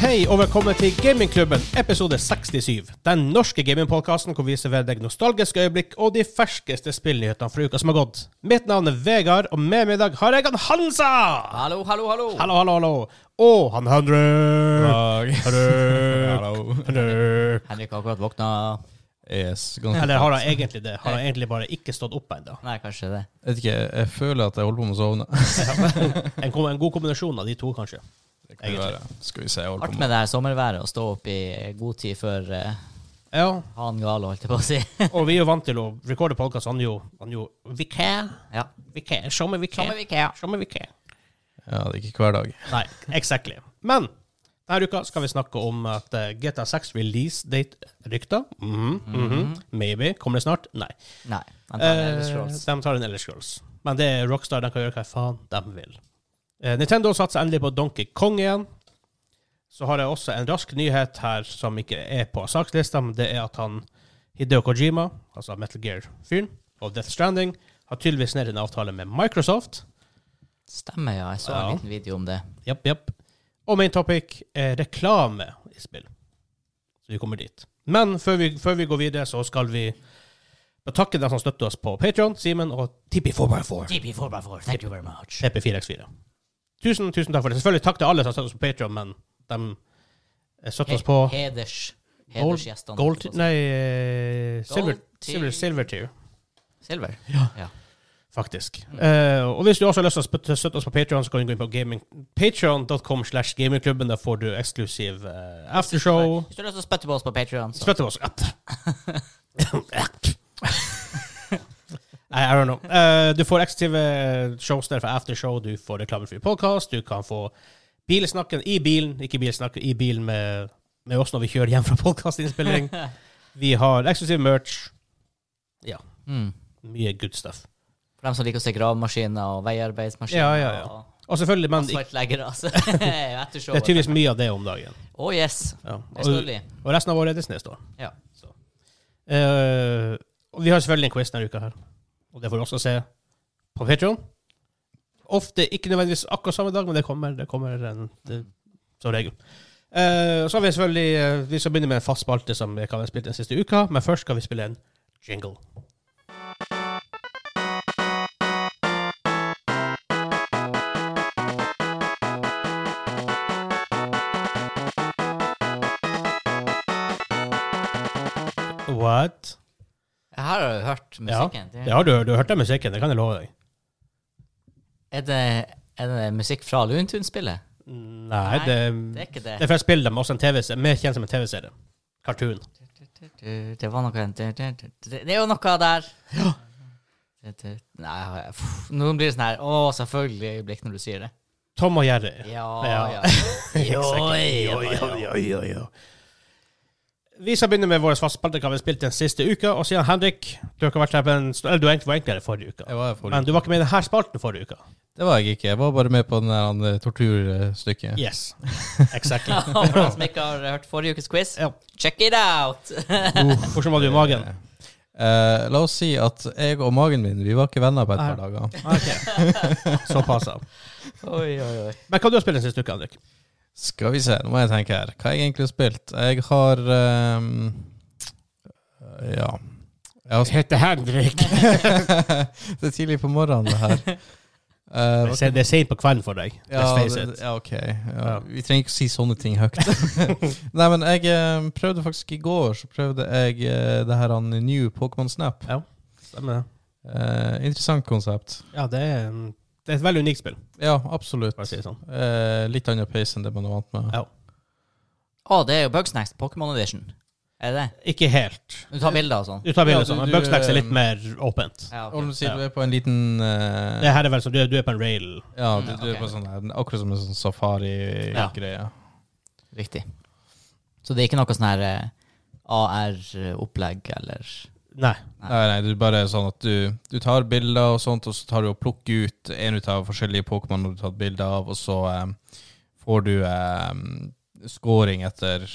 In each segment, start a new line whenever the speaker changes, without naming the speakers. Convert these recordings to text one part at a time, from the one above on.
Hei og velkommen til Gamingklubben episode 67. Den norske gamingpodkasten hvor vi serverer deg nostalgiske øyeblikk og de ferskeste spillnyhetene fra uka som har gått. Mitt navn er Vegard, og med meg i dag har jeg han Hansa!
Hallo, hallo, hallo!
Hallo, hallo, hallo. Og han Henrik.
Hallo.
Henrik.
Henrik har akkurat våkna.
Yes, ganske
Eller har han egentlig det? Har han egentlig bare ikke stått opp ennå?
Nei, kanskje det.
Jeg vet ikke, jeg føler at jeg holder på med å sovne.
En, kom- en god kombinasjon av de to, kanskje.
Det kan
Egentlig.
være. Skal vi se, jeg holder
Artig
på
med det her sommerværet å stå opp i god tid før eh,
Ja.
han gale, holdt jeg på å si.
Og vi er jo vant til å recorde podkast. Han er jo, han er jo vikar.
ja.
Vikar. Sommervikar.
Sommervikar.
Sommervikar.
Ja, det er ikke hver dag.
Nei, exactly. Men denne uka skal vi snakke om at eh, GTA 6 release date-rykter. Mhm, mhm. Maybe. Kommer det snart? Nei.
Nei. Han tar en Elder
Eh,
Scrolls.
de tar en Elder Scrolls. Men det er Rockstar. De kan gjøre hva faen de vil. Eh, Nintendo satser endelig på Donkey Kong igjen. Så har jeg også en rask nyhet her som ikke er på sakslista, men det er at han Hideo Kojima, altså Metal Gear-fyren, og Death Stranding har tydeligvis ned en avtale med Microsoft.
Stemmer, ja. Jeg så
Ja.
en liten video om det.
Japp, japp. Og main topic er reklame i spill. Så vi kommer dit. Men før vi, før vi går videre, så skal vi takke dem som støtter oss på Patreon, Simen og Tippi4x4.
GP 4x4, thank you very much.
CP4x4. Tusen, tusen takk for det. Selvfølgelig takk til alle som har støttet oss på Patreon, men de støtter oss på
He- Heders.
Gold,
Hedersgjestene.
gold Nei, eh, silver,
Gold tier.
silver, silver tier.
Silver. Ja.
Faktisk. Eh, og hvis du også har lyst til å spøt- støtte oss på Patreon, så kan du gå inn på gaming- patreon.com slash gamingklubben. Der får du eksklusiv eh, aftershow.
Hvis du har lyst til å spytte på oss på Patreon, så
Spytte på oss. Nei, I don't know. Eh, du får eksklusive shows der for aftershow, du får reklamefri podkast, du kan få bilsnakken i bilen, ikke bilsnakken i bilen med, med oss når vi kjører hjem fra podkastinnspilling. Vi har eksklusiv merch. Ja,
mm.
mye good stuff.
For dem som liker å se gravemaskiner og veiarbeidsmaskiner
Ja, ja, ja. Og selvfølgelig, men
og
det
svartleggere, altså. Etter
er
showet.
tydeligvis mye av det om dagen.
Oh yes.
Ja.
Det skal
Og,
bli.
og resten av året er det snøstorm.
Ja.
Eh, og vi har selvfølgelig en quiz denne uka her. Og det får du også se på Patreon. Ofte ikke nødvendigvis akkurat samme dag, men det kommer, det kommer en, det, som regel. Eh, så har vi selvfølgelig eh, Vi skal begynne med en fast spalte som vi kan ha spilt den siste uka, men først skal vi spille en jingle. What?
Jeg har jo hørt musikken.
Det har du, du har hørt den musikken, det kan jeg love deg.
Er det, er det musikk fra Luntun-spillet?
Nei, det,
Det er ikke det.
det er fra et spill de også en TV-serie, mer kjent som en TV-serie. Cartoon.
Du, Det var noe Det det er jo noe der. Ja. Nei, pff, nå blir det sånn her Å, selvfølgelig øyeblikk når du sier det.
Tom og Jerry.
Ja,
Ja.
ja.
Exactly.
Jo, jo, jo.
Vi skal begynne med våre svartspalte hva vi har spilt den siste uka. Og siden Henrik, du har ikke vært her på en stund Eller du egentlig var egentlig her forrige uka.
Jeg var her forrige
Men du var ikke med i denne spalten forrige uka.
Det var jeg ikke. Jeg var bare med på den der andre torturstykket.
Yes. Exactly.
For de som ikke har hørt forrige ukes quiz,
Ja.
check it out!
Hvordan var du i magen?
Eh, la oss si at jeg og magen min Vi var ikke venner på et par dager.
Okay. Såpass. ja.
Oi, oi, oi.
Men hva har du spilt den siste uka, Henrik?
Skal vi se, nå må jeg tenke her. Hva har jeg egentlig har spilt? Jeg har ehm, eh, Ja. Jeg har
heter Henrik.
spilt Det er tidlig på morgenen, det her. Eh, hva-
Det er sent på kvelden for deg. Let's
Ja,
face
det-
it.
ja, ok.
Ja.
Ja. Vi trenger ikke å si sånne ting høyt. Nei, men jeg eh, prøvde faktisk i går Så prøvde jeg eh, det her han New Pokémon Snap.
Stemmer det.
Eh, interessant konsept.
Ja, det er, en- det er et veldig unikt spill,
Ja, absolutt.
for å si det sånn.
Eh, litt annen pace enn det man er vant med.
Ja.
Å, det er jo Bugsnacks Pokémon Edition. Er det det?
Ikke helt.
Du tar bilder og sånn?
Du tar bilder
Ja, du-
sånn, men
du,
Bugsnax er
eh,
litt mer åpent.
Ja,
Og
ok.
du sier
Ja.
du er på en liten eh,
Det her er vel som du, er- du er på en rail.
Ja,
Mm,
du, du er
ok.
på sånn her, akkurat som en sånn safari-greie.
Riktig. Så det er ikke noe sånn her AR-opplegg eller
Nei.
Ja.
Nei, nei, du bare er sånn at du, du tar bilder og sånt, og så tar du og plukker ut en ut av forskjellige Pokémon du har tatt bilder av, og så em, får du em, scoring etter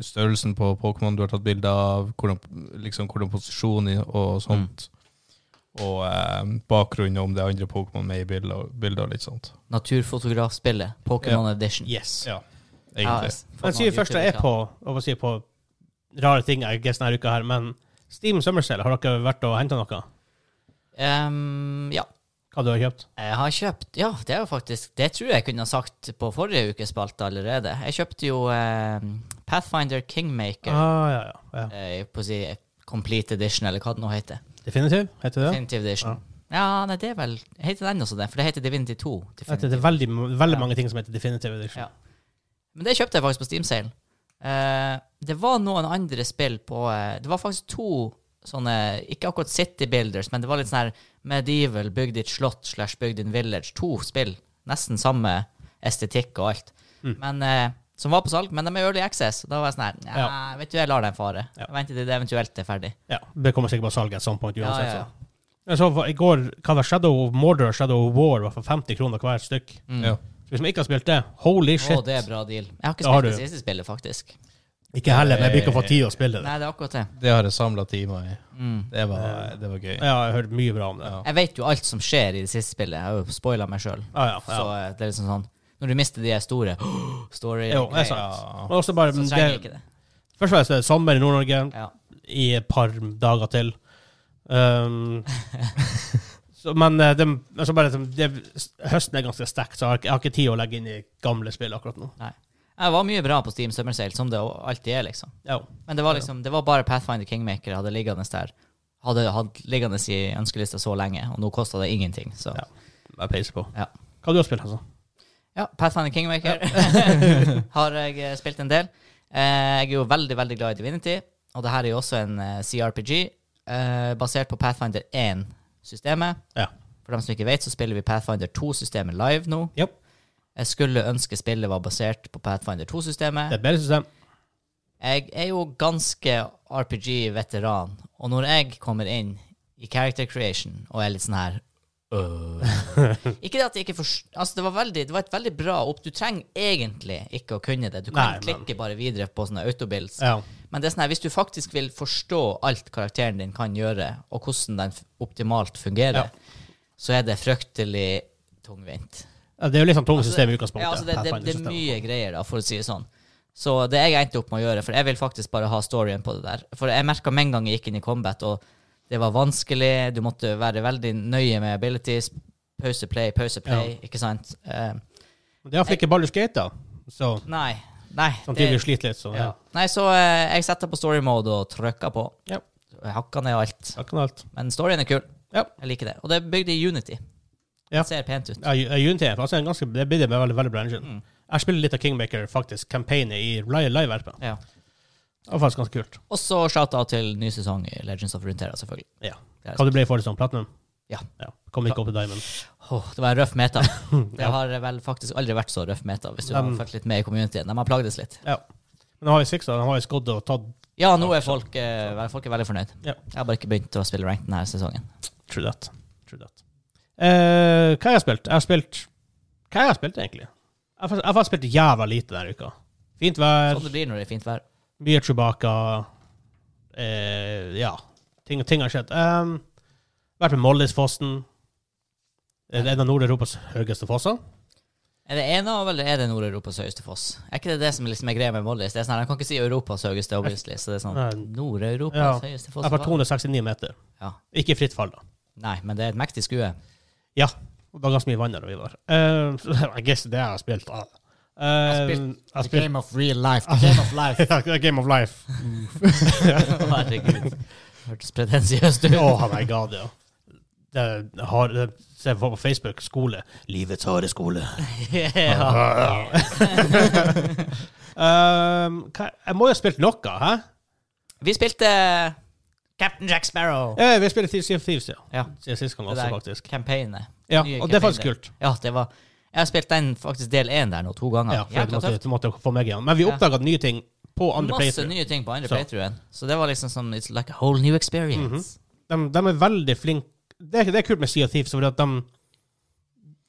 størrelsen på Pokémon du har tatt bilder av, hvordan, liksom, hvordan posisjon i- og sånt, og um, bakgrunn om det er andre Pokémon med i bilder, bilder og litt sånt.
naturfotografspillet Pokémon Edition.
Yes.
Ja. egentlig.
Men siden først jeg er på, og hva sier på rare ting jeg guess denne uka her, men Steam Summer Sale, har dere vært og henta noe?
Ehm, ja.
Hva du har kjøpt?
Jeg har kjøpt Ja, det er jo faktisk Det tror jeg kunne ha sagt på forrige ukes spalte allerede. Jeg kjøpte jo ehm, Pathfinder Kingmaker
Ah, ja, ja, ja.
eh, på å si Complete Edition, eller hva det nå heter.
Definitiv, heter det?
Definitive Edition. Ja, nei, det er vel Heter den også det? For det heter Divinity 2.
Heter
Definitive.
det er veldig, veldig
Ja.
mange ting som heter Definitive Edition.
Ja. Men det kjøpte jeg faktisk på Steam-sale. Eh, det var noen andre spill på eh, Det var faktisk to sånne Ikke akkurat City Builders, men det var litt sånn her medieval, bygd ditt slott slash bygd din village. To spill. Nesten samme estetikk og alt.
Mm.
Men eh, som var på salg, men de er early access. Da var jeg sånn her Nei,
Ja.
vet du, jeg lar den fare.
Ja.
Jeg venter til det eventuelt er ferdig.
Ja. Det kommer sikkert på salg et sånt punkt
Ja,
uansett.
ja, ja.
så. Men så var- i går hva var det? Shadow of Mordor og Shadow of War var for 50 kroner hver stykk.
Ja.
Så Hvis man ikke har spilt det, holy
Å,
shit.
det er bra deal. Jeg har ikke
Da har
spilt det
du-
siste spillet, faktisk.
Ikke heller, men jeg blir ikke å få tid å spille det.
Nei, det er akkurat det.
Det har jeg samla timer i.
Mm.
Det var, det var gøy.
Ja, jeg har hørt mye bra om det.
Ja.
Jeg vet jo alt som skjer i det siste spillet. Jeg har jo spoila meg sjøl.
Ja, ja, ja.
Så eh, det er liksom sånn Når du mister de store story
Jo, det er sant.
Ja.
Men også bare,
Så trenger
det,
jeg ikke det.
først og fremst er det sommer i Nord-Norge
Ja.
i et par dager til. Um, så, men eh, det, men så bare, liksom, det, høsten er ganske sterk, så jeg har, ikke- jeg har ikke tid å legge inn i gamle spill akkurat nå.
Nei. Jeg var mye bra på Steam Summer Sale, som det alltid er, liksom.
Ja.
Men det var liksom Det var bare Pathfinder Kingmaker jeg hadde liggende der. Hadde hatt liggende i ønskelista så lenge, og nå kosta det ingenting, så
Ja. Jeg peiser på.
Ja.
Hva har du spilt, altså?
Ja, Pathfinder Kingmaker har jeg eh, spilt en del. Eh, jeg er jo veldig, veldig glad i Divinity, og det her er jo også en eh, CRPG eh, basert på Pathfinder 1-systemet.
Ja.
For dem som ikke vet, så spiller vi Pathfinder 2-systemet live nå.
Japp.
Jeg skulle ønske spillet var basert på Pathfinder 2-systemet.
Det er et bedre system.
Jeg er jo ganske RPG-veteran, og når jeg kommer inn i character creation og er litt sånn her øh. Ikke det at jeg ikke forstår Altså, det var, veldig, det var et veldig bra opp... Du trenger egentlig ikke å kunne det. Du
Nei,
kan
men-
klikke bare videre på sånne autobilds.
Ja.
Men det er sånn her, hvis du faktisk vil forstå alt karakteren din kan gjøre, og hvordan den f- optimalt fungerer, så er det fryktelig tungvint.
Ja, Det er jo litt sånn tungt system i
Ja,
utgangspunktet.
altså det, det, det er
Pathfinder-systemet.
mye greier, da, for å si det sånn. Så det jeg endte opp med å gjøre, for jeg vil faktisk bare ha storyen på det der. For jeg merka med en gang jeg gikk inn i combat, og det var vanskelig, du måtte være veldig nøye med abilities. Pause play, pause play, ikke sant? Eh,
Det er iallfall ikke Baldur's Gate, da. Så
nei. Nei.
samtidig sliter litt, så ja.
ja. nei, så eh, jeg setter på story mode og trykker på.
Ja.
Jeg hakker ned alt.
Takk for alt.
Men storyen er kul.
Ja.
Jeg liker det. Og det er bygd i Unity.
Ja.
Det ser pent ut.
Ja, Ju- Unity er faktisk en ganske Det blir det med veldig, veldig bra
Mm.
engine. Jeg spiller litt av Kingmaker, faktisk, campaignet i li- live-RP.
Ja.
Det var faktisk ganske kult.
Og så shout-out til ny sesong i Legends of Runeterra, selvfølgelig.
Ja.
Det er
Hva du ble for det sånn? Platinum?
Ja.
ja. Kom ikke opp i Diamond.
Åh, det var en røff meta. Det har vel faktisk aldri vært så røff meta, hvis du har
Dem-
fulgt litt med i communityen. De har plagdes litt.
Ja. Men de har jo siksa, de har jo skodd og tatt
Ja, nå er folk, eh, vel- folk er veldig fornøyd.
Ja.
Jeg har bare ikke begynt å spille rank denne sesongen.
True that. True that. Eh, hva har jeg spilt? Jeg har spilt Hva har jeg spilt, egentlig? Jeg har fakt- jeg har faktisk spilt jævla lite denne uka. Fint vær,
Sånn det blir når det er fint vær.
mye Chewbacca eh, Ja. Ting, ting har skjedd. Um, vært med Mollisfossen. Det er en av Nord-Europas høyeste fosser.
Er det en av, eller er det Nord-Europas høyeste foss? Er ikke det det som liksom er greia med Mollis? Det er sånn, her, De kan ikke si Europas høyeste, obviously. Så det er
Nei.
sånn Nord-Europas
Ja.
høyeste foss.
Jeg var 269 meter.
Ja.
Ikke i fritt fall, da.
Nei, men det er et mektig skue.
Ja. og Det var ganske mye vann der vi var. Eh, så I guess det jeg har spilt. da. Eh,
spilt-
jeg har
The
spilt
game of real life. The game of life.
Game of Life.
Herregud. Hørtes pretensiøst ut.
Oh my god, ja. Det har, det, se på Facebook, skole. Livets harde skole.
ja.
Um, hva, jeg må jo ha spilt noe, hæ?
Vi spilte eh, Captain Jack Sparrow.
Ja, vi spiller Sea of Thieves, ja.
Ja.
Siden sist gang
Det
også,
der
faktisk.
campaignet.
Ja,
Nye
og det er faktisk
campaign.
kult.
Ja, det var Jeg har spilt den faktisk del én der nå, to ganger.
Ja, for
Jækla
du måtte,
tøft.
du måtte få meg igjen. Men vi
Ja.
oppdaga nye ting på andre
Masse
playthrough.
nye ting på andre
Så.
playthroughen. Så det var liksom som It's like a whole new experience.
De, de er veldig flinke. Det, er- det er kult med Sea of Thieves, for at de,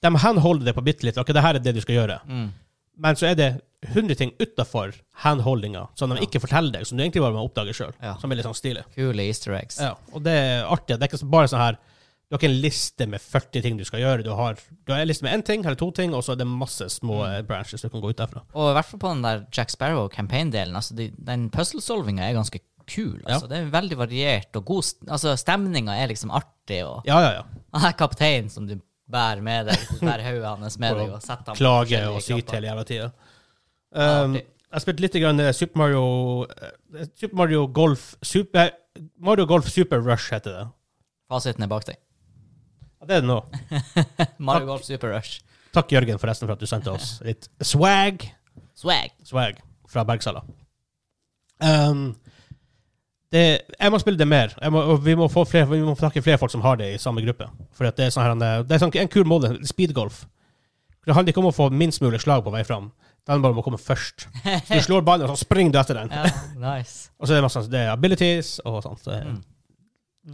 de handholder det på bitte litt. Ok, det her er det du skal gjøre.
Mm.
Men så er det 100 ting utafor handholdinga som de ikke forteller deg, som du egentlig bare må oppdage sjøl.
Ja.
Som er litt sånn stilig.
Kule easter eggs.
Ja, og det er artig. Det er ikke så- bare sånn her Du har ikke en liste med 40 ting du skal gjøre. Du har, du har en liste med én ting, eller to ting, og så er det masse små eh, branches du kan gå ut derfra.
Og i hvert fall på den der Jack Sparrow-campaign-delen. Altså de, den puzzle-solvinga er ganske kul. Altså, Det er veldig variert, og god, st- altså, stemninga er liksom artig. Og
Ja, ja, ja.
han er kapteinen som du bærer med deg, du bærer hodet hans med deg og setter ham på
Klage
forskjellige
og syte
knapper.
hele jævla tida.
Ja,
Um,
det-
jeg spilte litt grann eh, Super Mario eh, Super Mario Golf Super, Mario Golf Super Rush heter det.
Fasiten er bak deg.
Ja, det er det nå.
Mario Golf Super Rush.
Takk, Jørgen, forresten, for at du sendte oss litt swag.
Swag.
swag fra Bergsala. Um, det, jeg må spille det mer, jeg må, og vi må få flere, vi må få tak i flere folk som har det i samme gruppe. For at det er, sånn her, en- det er sånn, en kul måte, speedgolf. Det handler ikke om å få minst mulig slag på vei fram. Den bare må komme først. Så du slår ballen, og så springer du etter den.
Ja, nice.
Og så er det masse sånn, det er abilities og sånt. Det er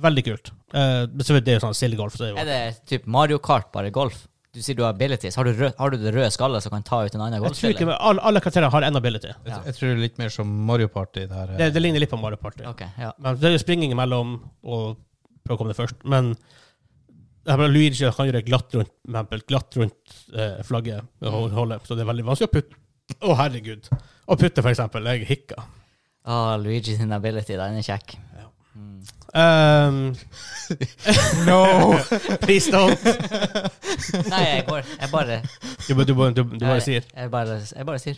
Veldig kult. Eh, men selvfølgelig, det er jo sånn sildegolf. Så det er jo-
Er det typ Mario Kart, bare golf? Du sier du har abilities. Har du, rød, har du det røde skallet som kan ta ut en annen
jeg tror ikke,
golfspiller?
men alle, alle karakterer har en ability.
Jeg,
Ja.
jeg tror det er litt mer som Mario Party der. eh.
Det, det ligner litt på Mario Party.
Ok, ja.
Men det er jo springing imellom og prøve å komme det først. Men det her med Luigi han kan gjøre glatt rundt, for eksempel, glatt rundt eh, flagget, med å holde, så det er veldig vanskelig å putte. Å, herregud. Å putte, for eksempel. Jeg hikka.
Ah, Luigi sin ability, den er kjekk.
Um,
No!
please don't.
Nei, jeg går. Jeg bare
Du, du, du, du, du bare sier.
Jeg, jeg, bare, jeg bare sier.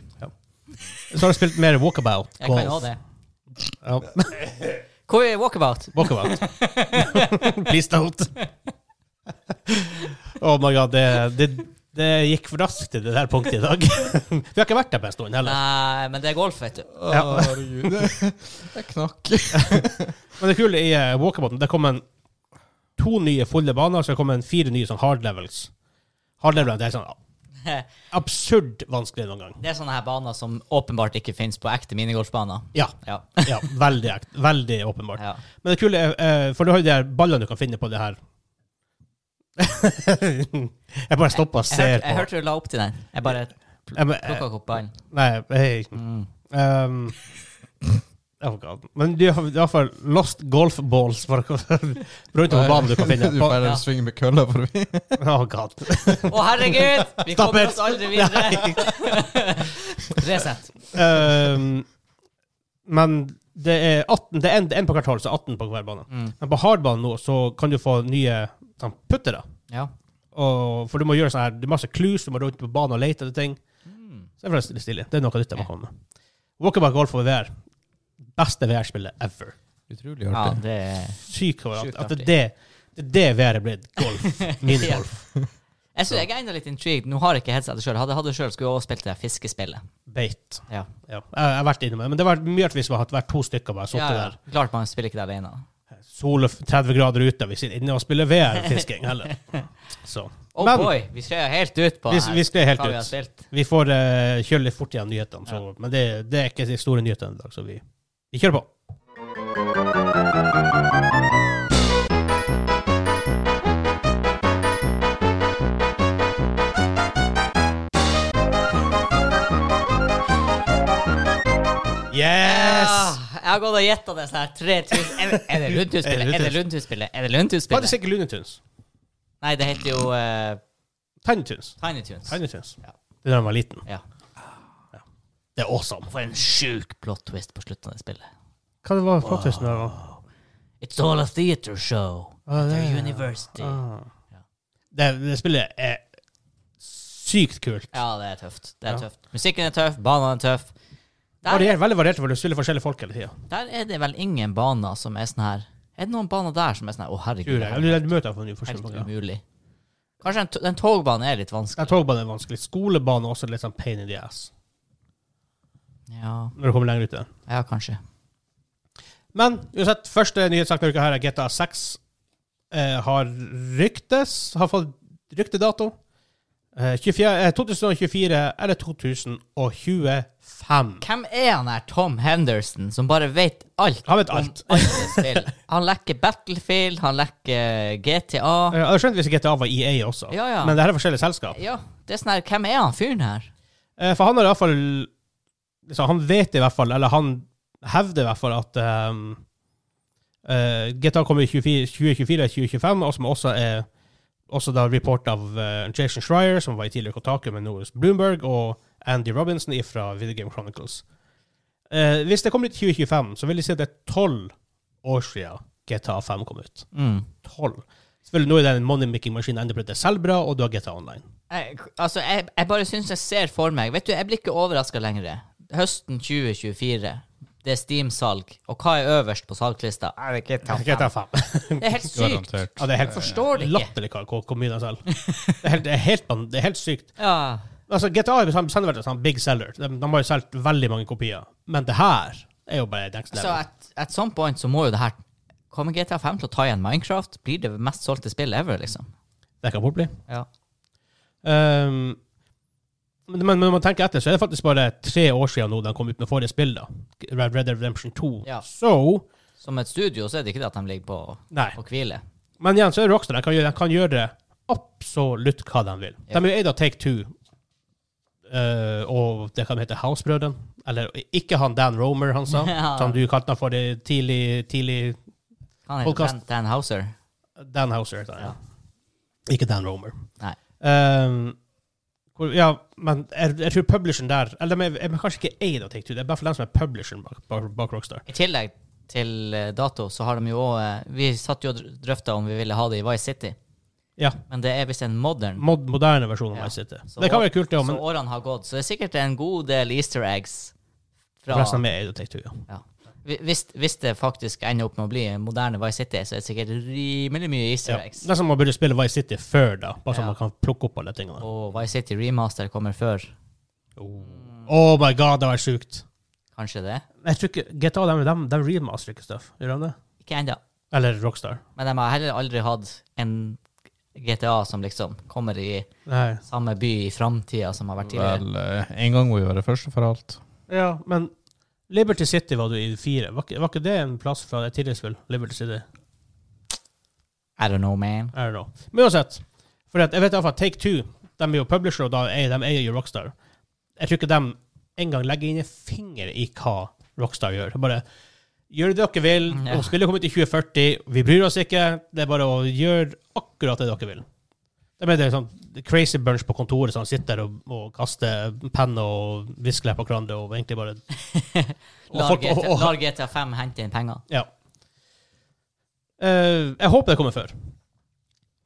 Så har jeg spilt mer walkabout.
Jeg kan jo
golf.
det.
Ja.
Hvor er walkabout?
Walkabout. please don't. oh my god, det, det, det gikk for raskt til det der punktet i dag. Vi har ikke vært der på en stund heller.
Nei, men det er golf, vet du.
Ja.
Herregud. Jeg knakk.
Men det kule i uh, Walkabouten, det kom en to nye fulle baner, så det kom en fire nye sånn hard levels. Hard levelene det er sånn
Det
absurd vanskelig noen gang.
er sånne her baner som åpenbart ikke finnes på ekte minigolfbaner.
Ja.
Ja.
ja veldig ekt, veldig åpenbart.
ja.
Men det kule er, eh, for du har jo de her ballene du kan finne på det her. jeg bare stopper og
Jeg,
ser Eh,
hørte, jeg hørte du la opp til den. Jeg bare
på. Jeg, men-
plukka opp ballen.
nei, hei. Um, oh god. Men du har i hvert fall lost golf balls for, rundt om på banen du kan finne.
Du
På,
bare
Ja.
svinger med kølla forbi.
oh god.
Å, herregud! Vi
Stopper.
kommer oss aldri videre. Resett.
Ehm, men det er 18, det er en, det er en på hvert hold, så 18 på hver bane.
Mm.
Men på hardbanen nå så kan du få nye sånn, puttere.
Ja.
Og, for du må gjøre sånn her, det er masse clues, du må rundt på banen og lete etter ting.
Mm.
Så det er forresten litt stilig. Det er noe nytt jeg må komme med. Walkabout golf over VR. Beste VR-spillet ever.
Utrolig
ja,
artig.
det er
Sykt over at,
Sjukt
at det,
artig.
er det, det er det VR er blitt. Golf. Minigolf.
Jeg, synes, jeg er enda litt intrigued. Nå har jeg ikke headsetet sjøl. Hadde jeg hatt det sjøl, skulle jeg også spilt det her fiskespillet.
Beit.
Ja.
Ja. Jeg, jeg har vært innom det. Men det har vært mye at vi skulle hatt vært to stykker bare sittet
Ja, ja.
der.
Klart man spiller ikke det alene.
sol og f- 30 grader ute. Vi sitter inne og spiller VR-fisking heller. Så.
Oh
Men
boy, vi skled helt ut på
vi,
her.
vi skled helt
hva vi
ut.
har spilt.
Vi får eh, kjøre litt fort igjen nyhetene, så, men det, det er ikke de store nyhetene i dag, så vi, vi kjører på. Yes!
Ah, jeg har gått og gjetta det sånn her 3000 Er det- er det Lundhusspillet? Er det Lundhusspillet? Er det
Faktisk
Lundhusspillet?
ikke Lunetunes.
Nei, det heter jo eh,
Tiny Tunes.
Tiny Tunes.
Tiny Tunes.
Ja.
Det er da han var liten.
Ja.
Det er awesome.
For en sjuk plot twist på slutten av det spillet.
Hva det var plottvisten der,
It's all a theater show.
Ah,
at
det
their
er-
university.
Ah. da? Det, det spillet er sykt kult.
Ja, det er tøft. Det er
Ja.
tøft. Musikken er tøff, banene er tøff. Der,
Varier, veldig variert, for du spiller forskjellige folk hele tida.
der er det vel ingen baner som er sånn her Er det noen baner der som er sånn her Å, herregud,
Tror
det
jeg.
her
Eller Du møter iallfall
er
forskjellige
helt
folk. Ja.
umulig. Kanskje den, to- den togbanen er litt vanskelig.
Ja, Togbane er vanskelig. Skolebane er også litt sånn pain in the ass.
Ja,
Når du kommer lenger ut i den.
ja kanskje.
Men uansett, første nyhetssak denne uka her er GTA 6. Eh, har ryktes Har fått ryktedato. Eh, 24, eh, 2024 eller 2025.
Hvem er han her Tom Henderson, som bare vet alt
Han vet alt.
om alle spill? Han lekker Battlefield, han lekker GTA.
Eh, Jeg skjønte hvis GTA var EA også,
Ja, ja.
men det her er forskjellige selskap.
Ja, det er sånn her Hvem er han fyren her?
Eh, For han har i hvert fall liksom, Han vet i hvert fall, eller han hevder i hvert fall at ehm, Eh, GTA kommer i 24 2024 2025, og som også er også da report av eh, Jason Schreier, som var i tidligere Kotaku, men nå hos Bloomberg, og Andy Robinson fra Video Game Chronicles. Eh, hvis det kommer ut i 2025, så vil jeg si at det er tolv år siden GTA 5 kom ut.
Mm.
Tolv. Selvfølgelig nå er det en money-making-maskin enda blitt selv bra, og du har GTA Online.
Jeg, altså, jeg, jeg bare syns jeg ser for meg Vet du, jeg blir ikke overraska lenger. Høsten 2024, det er Steam-salg, og hva er øverst på salglista? Er det GTA fem?
GTA 5.
Det er helt sykt.
Garantert.
Ja, det er helt
Forstår det
Eh,
ikke.
Latterlig hva- hvor hvor mye de selger. Det er helt- det er helt ban- Det er helt sykt.
Ja.
Altså, GTA er bestemt- bestemt en sånn big seller. De, de har jo solgt veldig mange kopier. Men det her er jo bare next
Så
level.
at, at some point så må jo det her Kommer GTA 5 til å ta igjen Minecraft? Blir det mest solgte spillet ever, liksom?
det kan fort bli.
Ja.
Ehm, men, men når man tenker etter, så er det faktisk bare tre år siden nå de kom ut med forrige spill, da. Red Red Dead Redemption 2.
Ja.
Så
Som et studio så er det ikke det at de ligger på,
Nei.
på hvile.
Men igjen, så er det Rockstar. De kan gjøre, de kan gjøre absolutt hva de vil.
Ja.
De er jo eid av Take Two. eh, og det kan hete House-brødrene. Eller ikke han Dan Romer, han sa.
Ja.
Som du kalte han for det tidlig, tidlig
Han heter
Podcast.
Dan, Dan Houser.
Dan Houser heter han, ja.
Ja.
Ikke Dan Romer.
Nei.
Ehm, hvor, ja, men jeg, jeg tror publisheren der Eller de er, er kanskje ikke eid av Take Two, det er bare for dem som er publisheren bak, bak, bak Rockstar.
I tillegg til eh, dato så har de jo òg eh, Vi satt jo og dr- drøfta om vi ville ha det i Vice City,
Ja,
men det er visst en modern.
mod, moderne versjon av
Ja.
Vice City.
Så-
Det kan være kult, det òg,
Så
men
årene har gått, så det er sikkert en god del easter eggs fra
resten er eid av Take Two. Ja.
ja. Hvi- Hvis, hvis det faktisk ender opp med å bli en moderne Vice City, så er det sikkert rimelig mye
Ja.
easter eggs.
Nesten man burde spille Vice City før, da, bare så
Ja.
man kan plukke opp alle tingene.
Og Vice City Remaster kommer før.
Oh my god, det var sjukt!
Kanskje det?
Jeg tror ikke GTA de, de, de remasterer ikke stuff, gjør de det?
Ikke ennå.
Eller Rockstar.
Men de har heller aldri hatt en GTA som liksom kommer i
Nei.
samme by i framtida som har vært tidligere.
Vel, eh, en gang må vi være første for alt.
Ja, men Liberty City var du i fire. Var ikke, var ikke det en plass fra et tidligere spill? Liberty City?
I don't know, man.
I don't know. Men uansett, for at, jeg vet iallfall at Take Two de er jo publisher, og da er, de eier jo Rockstar. Jeg tror ikke de engang legger inn en finger i hva Rockstar gjør. Bare gjør det dere vil,
Ja.
om spillet kommer ut i 2040, vi bryr oss ikke, det er bare å gjøre akkurat det dere vil. De er det sånn crazy bunch på kontoret som sitter og, og kaster penn og viskelær på hverandre og egentlig bare Og
Lar
folk- og-
GTA,
og-
lar GTA 5 hente inn penger.
Ja. Eh, jeg håper det kommer før.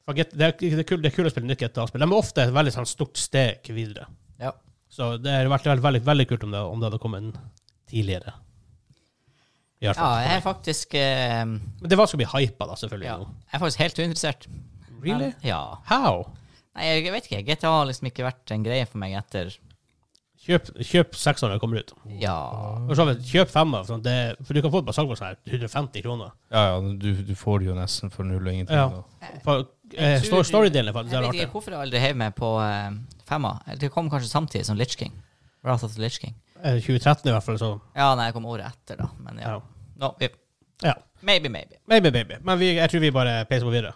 For Get, det, er, det, er kul, det er kul å spille nytt GTA-spill. De er ofte et veldig sånn, stort steg videre.
Ja.
Så det hadde vært veldig, veldig, veldig kult om det, om det hadde kommet en tidligere. I hvert
ja,
fall.
jeg er faktisk eh,
Men det var skal bli hypa, da, selvfølgelig.
ja,
nå.
Jeg er faktisk helt uinteressert.
Really?
Men, ja.
How?
Nei, jeg vet ikke. GTA har liksom ikke vært en greie for meg etter
Kjøp, kjøp seks når det kommer ut.
Ja.
For så vidt, kjøp fem av sånn, det, for du kan få det på salg for sånn her 150 kroner.
Ja, ja, du, du får det jo nesten for null og ingenting.
Ja.
da.
For, eh,
tror-
sto- Storydelen er faktisk
Jeg
jævlig
vet ikke
artig.
hvorfor jeg aldri heiv meg på eh, femma. Eller Det kom kanskje samtidig som Litch King. Wrath of the Litch King.
Eh, 2013 i hvert fall, så
Ja, nei, jeg kom året etter, da. Men ja.
Ja.
No, vi-
ja.
maybe, maybe.
Maybe, baby. Men vi, jeg tror vi bare peiser på videre.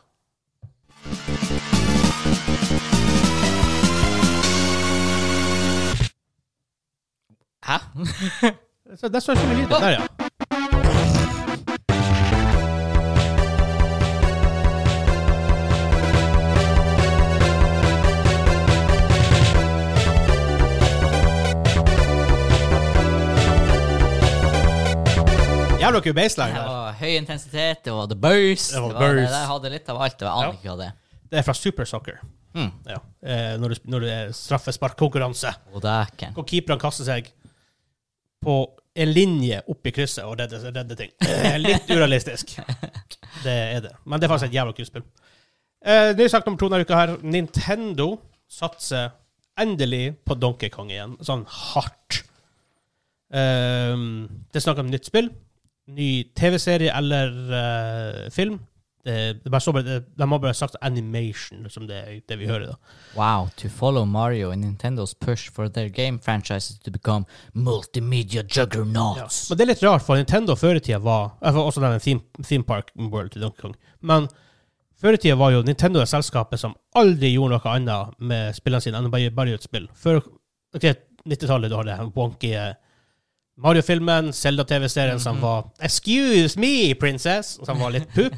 Hæ?
Så det står ikke med lyden. Der, ja. Jævla kul baseline.
Det
der.
var høy intensitet, det var the burst.
Det
Det
var
var
burst.
det der hadde litt av alt. og Jeg
Ja.
aner ikke hva det er.
Det er fra Super Soccer.
Mm.
Ja. Eh, når, du, når det er straffesparkkonkurranse.
Og dæken.
Hvor keeperne kaster seg på en linje opp i krysset og redder, redder ting. Eh, Litt urealistisk. Det er det. Men det er faktisk et jævla kult spill. Eh, ny sak nummer to denne uka her. Nintendo satser endelig på Donkey Kong igjen. Sånn hardt. Eh, det er snakk om nytt spill, ny TV-serie eller eh, film. Det, det er bare så, bare- det, de har bare sagt animation, som det, det vi hører. da.
Wow, to follow Mario and Nintendo's push for their game franchises to become multimedia juggernauts.
Men det er litt rart, for Nintendo før i tida var eh, for Også den theme, theme Park World til Donkey Kong. Men før i tida var jo Nintendo det selskapet som aldri gjorde noe annet med spillene sine enn å bare, bare gjøre et spill. Før ok, 90-tallet, du har det her wonky eh, Mario-filmen, Zelda-TV-serien som
Mhm.
var 'Excuse me, princess!' som var litt pup.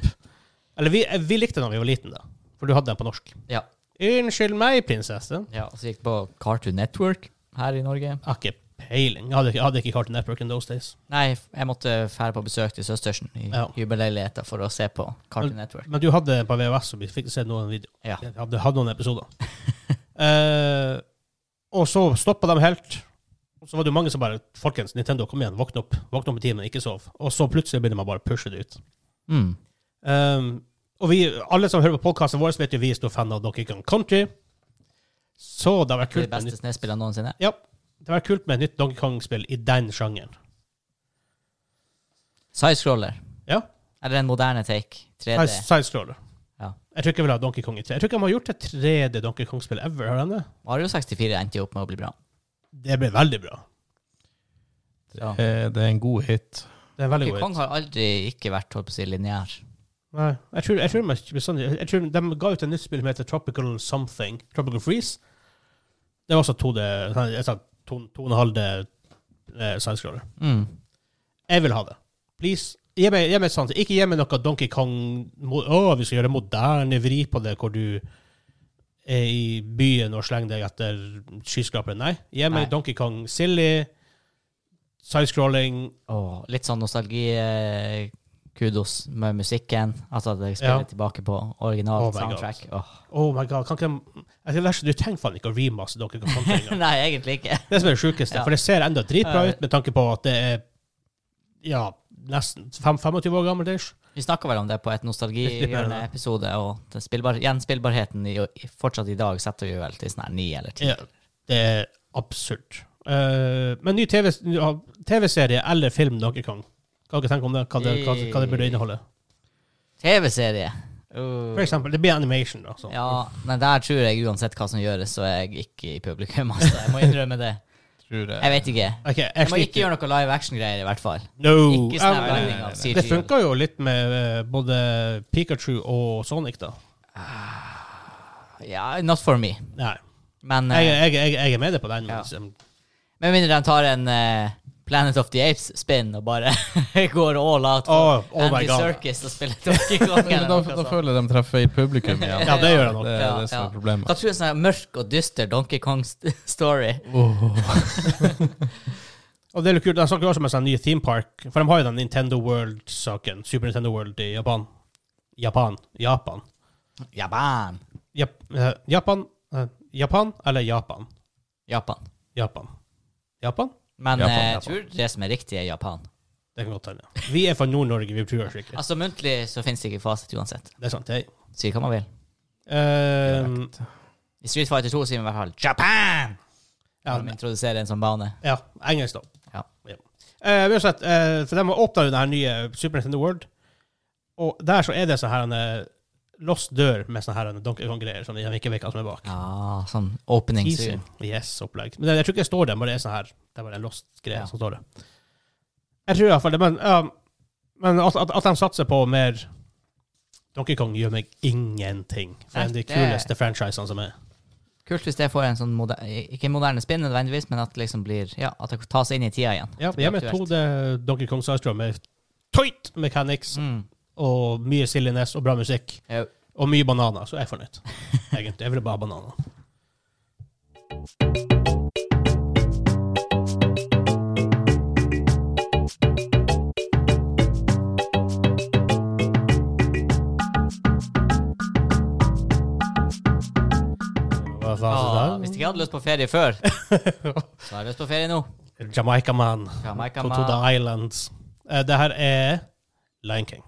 Eller vi, eh, vi likte den da vi var liten da. For du hadde den på norsk.
Ja.
'Unnskyld meg, prinsesse'.
ja. Og så gikk det på Cartoon Network her i Norge.
Jeg har ikke peiling. Jeg hadde, ikke- jeg hadde ikke Cartoon Network in those days.
Nei, jeg måtte fære på besøk til søstersen i
Ja.
hybelleiligheten for å se på Cartoon Network.
Men du hadde på VHS, og vi fikk se noen videoer.
Ja.
Jeg hadde, hadde noen episoder. Eh, og så stoppa de helt. Og så var det jo mange som bare 'Folkens, Nintendo, kom igjen. Våkne opp. Våkne opp i timen, ikke sov.' Og så plutselig begynner man bare å pushe det ut.
Mm.
Um, og vi, alle som hører på podkasten vår, vet jo vi er stor fan av Donkey Kong Country. Så det har vært
De
kult med,
beste
nytt,
snespillene noensinne.
ja, det har vært kult med et nytt Donkey Kong-spill i den sjangeren.
Sidescroller.
Ja.
Eller en moderne take. 3D.
Side- Sidescroller.
Ja.
Jeg tror ikke jeg vil ha Donkey Kong i 3. Jeg tror ikke de har gjort et 3D Donkey Kong-spill ever. Har de det?
Mario 64 endte jo opp med å bli bra.
Det ble veldig bra.
Ja.
Eh, Det er en god hit.
Det er en veldig
Donkey
god.
Kong har aldri ikke vært holdt på å si lineær.
Nei, jeg tror, jeg, tror de, ikke bestandig- sånn- jeg tror de ga ut et nytt spill som heter Tropical Something. Tropical Freeze. Det var også 2D sånn- jeg sa 2,5D eh, sidescroller.
Mm.
Jeg vil ha det. Please. Gi meg, gi meg et sånt. Ikke gi meg noe Donkey Kong mo- Å, vi skal gjøre moderne vri på det, hvor du er i byen og slenger deg etter skyskraperen. Nei. Gi meg
Nei.
Donkey Kong silly, sidescrolling
Åh, litt sånn nostalgi-kudos med musikken. Altså at jeg spiller
Ja.
tilbake på original
Oh my
soundtrack. Åh.
Oh my god, kan ikke de Jeg skal lære- Du trenger faen ikke å remaste Donkey Kong Country engang.
Nei, egentlig ikke.
Det som er det sjukeste.
Ja.
For det ser enda dritbra
Ja, jeg
ut med tanke på at det er ja, nesten fem- 25 år gammelt. ish.
Vi snakka vel om det på et
Litt mer, da.
nostalgihjørne-episode, og den spillbar gjenspillbarheten i, i, fortsatt i dag setter vi vel til sånn her ni eller ti.
Ja. Det er absurd. Eh, men ny TV ja, TV-serie eller film Donkey Kong. Kan dere tenke om det? Hva det, hva, hva det burde inneholde?
TV-serie! Uh.
For eksempel, det blir animation. da. Så.
Ja, men der tror jeg uansett hva som gjøres, så er jeg ikke i publikum. Altså. Jeg må innrømme det.
Tror jeg.
Jeg vet ikke.
Ok, jeg
Jeg må
sliter.
ikke gjøre noe live action-greier, i hvert fall.
No.
Ikke
Uh. Ja,
snap
men
nei,
blanding
nei,
av
nei.
det-
CGI.
det funka jo litt med eh, både Pikachu og Sonic, da.
Ja, not for me.
Nei.
Men
Jeg,
eh,
jeg, jeg, jeg er med deg på den.
Ja.
Men, liksom,
med mindre de tar en eh, Planet of the Apes-spinn og bare går all out for
Åh, oh my
Andy
god.
Circus og spiller Donkey Kong.
Men
eller
da,
noe
da
sånt.
føler jeg de treffer i publikum igjen.
Ja, det gjør jeg
Det
nok.
er
Ja,
det som
ja.
er problemet.
Hva tror du en sånn her mørk og dyster Donkey Kong-story?
Og det er litt kult, De snakker jo også om en sånn ny theme park, for de har jo den Nintendo World-saken. Super Nintendo World i Japan. Japan. Japan.
Japan.
Jap eh, Japan. eh, Japan eller Japan?
Japan.
Japan. Japan?
Men
Japan,
eh, jeg
Japan.
tror det som er riktig, er Japan.
Det kan godt hende. Vi er fra Nord-Norge, vi tror oss ikke.
Altså muntlig så fins det ikke fasit uansett.
Det er sant, hei.
Si hva man vil.
Ehm,
I Street Fighter 2 sier vi i hvert fall Japan!
ja,
Når de introduserer en sånn bane.
ja, engelsk, da.
Ja.
Eh, uansett, eh, for de har åpna jo den her nye Super Nintendo World, og der så er det sånn her en eh, lost dør med sånne her en Donkey Kong-greier som de ikke vet hva som er bak.
Ja, sånn opening
Easy.
soon.
Yes, opplegg. Men det, jeg tror ikke det står der, bare det er sånn her. Det er bare en lost greie
Ja.
som står der. Jeg tror i hvert fall det, men, ja, men at, at, at de satser på mer Donkey Kong gjør meg ingenting. For det er
Nei,
en av de
det-
kuleste franchisene som er.
Kult hvis det får en sånn moder ikke en moderne spinn nødvendigvis, men at det liksom blir Ja, at det tas inn i tida igjen.
Ja,
Det
vi
blir
er med
aktuelt.
2D Donkey Kong Sidestrow med tight mechanics
Mm.
og mye silliness og bra musikk.
Jo.
Og mye bananer, så jeg er fornøyd. Egentlig. Jeg ville bare ha bananer. Hva sa
Ah,
han
hvis
til
de ikke hadde lyst på ferie før, så har jeg lyst på ferie nå.
det? Jamaica Man.
Jamaica
To, to
man.
the Islands. Eh, det her er Lion King.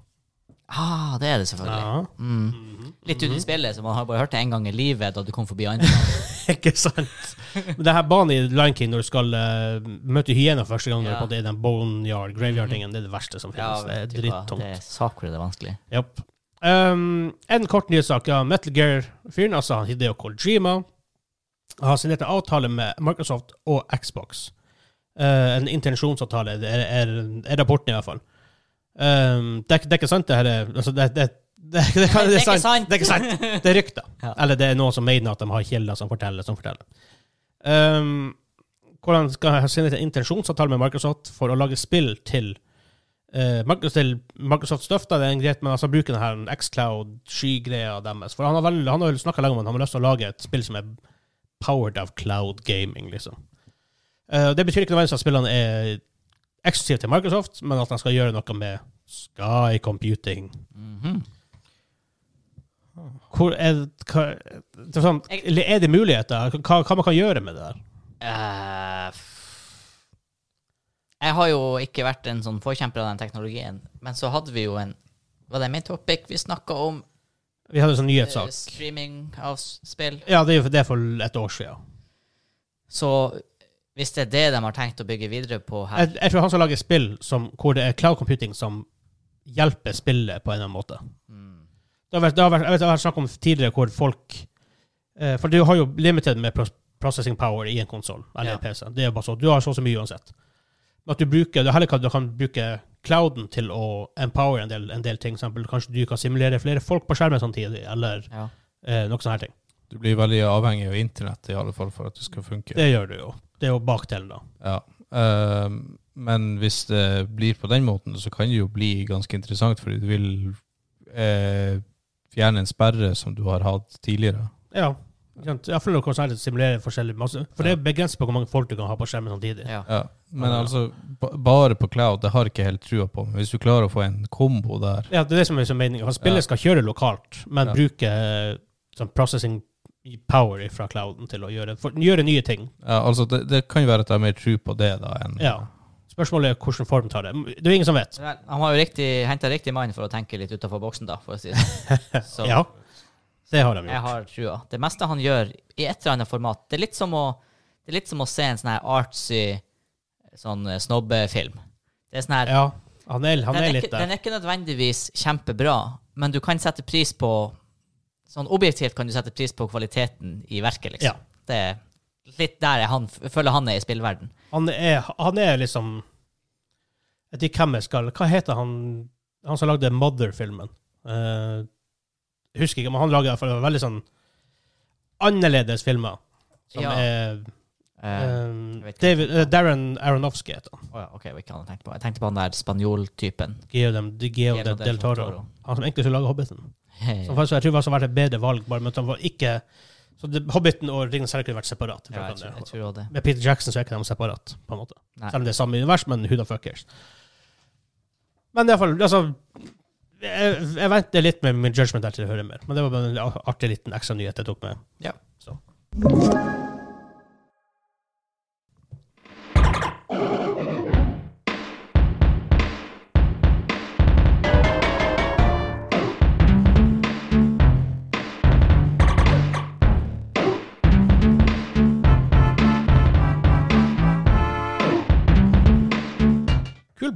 Ah, det er det selvfølgelig.
Ja.
Mm. Litt
Mhm.
ut i spillet, så man har bare hørt det en gang i livet da du kom forbi andre.
Ikke sant? Men det her banen i Lion King når du skal eh, møte hyena første gang, når
Ja.
du på en måte er i den boneyard, graveyard-tingen, det er det verste som finnes. det er
typ, ja,
drittungt.
Det er saklig, det er vanskelig.
Japp. Um, en kort nyhetssak. Ja. Metal Gear-fyren, altså han Hideo Kojima, har signert en avtale med Microsoft og Xbox. Eh, en intensjonsavtale, det er, er, er rapporten i hvert fall. Um, det, er, ikke- det er ikke sant, det her. er- Altså, det, det, det, det, kan- det, er sant. det er ikke sant. Det er rykter.
Ja.
Eller det er noen som mener at de har kilder som forteller, som forteller. Um, hvor han skal ha signet en intensjonsavtale med Microsoft for å lage spill til eh, Microsoft, til Microsoft Stuff. Da, det er en greit, men altså bruke den her X-Cloud-skygreia deres. For han har, vel, han har jo snakka lenge om at han har lyst til å lage et spill som er powered of cloud gaming, liksom. Eh, og det betyr ikke nødvendigvis at spillene er eksklusive til Microsoft, men at han skal gjøre noe med Sky Computing.
Mhm.
Hvor er, hva, det er, sånn, er det muligheter? Hva, hva man kan gjøre med det der?
Eh, f- Jeg har jo ikke vært en sånn forkjemper av den teknologien, men så hadde vi jo en Var det min topic vi snakka om?
Vi hadde en sånn
eh,
nyhetssak.
Streaming av s- spill.
Ja, det er jo- det er for et år siden.
Så hvis det er det de har tenkt å bygge videre på her
Jeg, jeg tror han skal lage spill som, hvor det er cloud computing som hjelper spillet på en eller annen måte.
mm.
Det har vært, det har vært, jeg vet, det har vært snakk om tidligere hvor folk eh, For du har jo limited med pros- processing power i en konsoll eller
Ja.
en PC. Det er jo bare så. Du har så og så mye uansett. Men at du bruker, det er heller hva du kan bruke clouden til å empower en del, en del ting. Eksempel, kanskje du kan simulere flere folk på skjermen samtidig, eller
Ja.
eh, noe sånne her ting.
Du blir veldig avhengig av internett i alle fall for at det skal funke.
Det gjør du jo. Det er jo bakdelen, da.
Ja. Eh, men hvis det blir på den måten, så kan det jo bli ganske interessant, fordi du vil eh, fjerne en sperre som du har hatt tidligere.
Ja. ikke sant? Jeg føler hvordan det simulerer forskjellig masse. For det er begrenset på hvor mange folk du kan ha på skjermen samtidig.
ja.
Ja. Men
Ja.
altså, ba- bare på cloud, det har jeg ikke helt trua på. Men hvis du klarer å få en kombo der
Ja, det er det som er som meningen. For Spillet
Ja.
skal kjøre lokalt, men
Ja.
bruke eh, sånn processing power fra clouden til å gjøre, for, gjøre nye ting.
ja, altså det, det kan jo være at jeg har mer tro på det da enn
Ja. Spørsmålet er hvilken form tar det. Det er jo ingen som vet.
Vel, Han har jo riktig, henta riktig mann for å tenke litt utafor boksen, da, for å si det sånn. Så
Ja, det har de
jeg
gjort.
har trua. Det meste han gjør, i et eller annet format Det er litt som å, det er litt som å se en sånn her artsy sånn eh, snobbefilm. Det er sånn her
Ja, han er, han
den,
er
er
litt
ikke, den
der.
er ikke nødvendigvis kjempebra, men du kan sette pris på Sånn objektivt kan du sette pris på kvaliteten i verket, liksom.
Ja.
Det er litt der er han, jeg føler han er i spillverden.
Han er, han er liksom Jeg vet ikke hvem jeg skal Hva heter han Han som lagde Mother-filmen? Eh, husker ikke, men han lager i hvert fall veldig sånn annerledes filmer. Som
Ja.
er
Eh,
eh,
vet ikke.
David, eh, Darren Aronofsky heter han.
å ja, ok, det var ikke han jeg tenkte på. Jeg tenkte på han der spanjoltypen.
Guillaume de Geo del, del Toro. Han som egentlig skulle lage Hobbiten. Som faktisk, jeg tror det var et bedre valg, bare, men at han var ikke Så det, Hobbiten og Ringenes herre kunne vært separat.
Ja, jeg, tror, jeg tror også det.
Med Peter Jackson så er ikke de separat, på en måte.
Nei.
Selv om det er samme univers, men who the fuckers. Men iallfall, altså jeg, jeg venter litt med min judgment der til jeg hører mer. Men det var bare en a- artig liten ekstra nyhet jeg tok med.
Ja.
Så. Kul,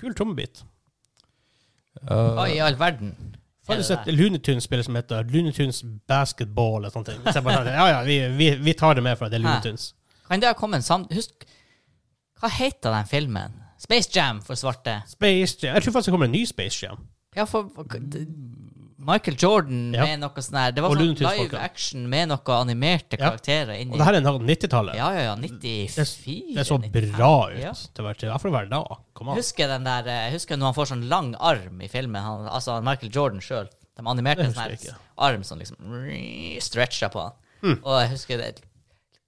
kul trommebit.
Eh,
Hva i all verden? Er
Faktisk
det
et
der?
Lunetunes-spill som heter Lunetunes Basketball eller sånne ting. Så jeg bare sånn, ja, ja, vi, vi, vi tar det med for at det er
Hæ?
Lunetunes.
Kan det ha kommet sam... Husk, hva heter den filmen? Space Jam for svarte.
Space Jam. Jeg tror faktisk det kommer en ny Space Jam.
Ja, for d- Mm. Michael Jordan
Ja.
med noe sånn her Det var
Og
sånn
Lunetusfolka.
live action med noe animerte
Ja.
karakterer inni
Og det her er 90-tallet.
Ja, ja, ja.
Det,
94
det så
95.
bra ut
Ja.
til å være til. Iallfall å være da. Kom an.
Husker den der eh, Husker når han får sånn lang arm i filmen, han, altså han Michael Jordan sjøl. De animerte
Det
en
husker
sånn
jeg Hmm.
her arm som liksom rrrr, stretcha på han. Og jeg husker det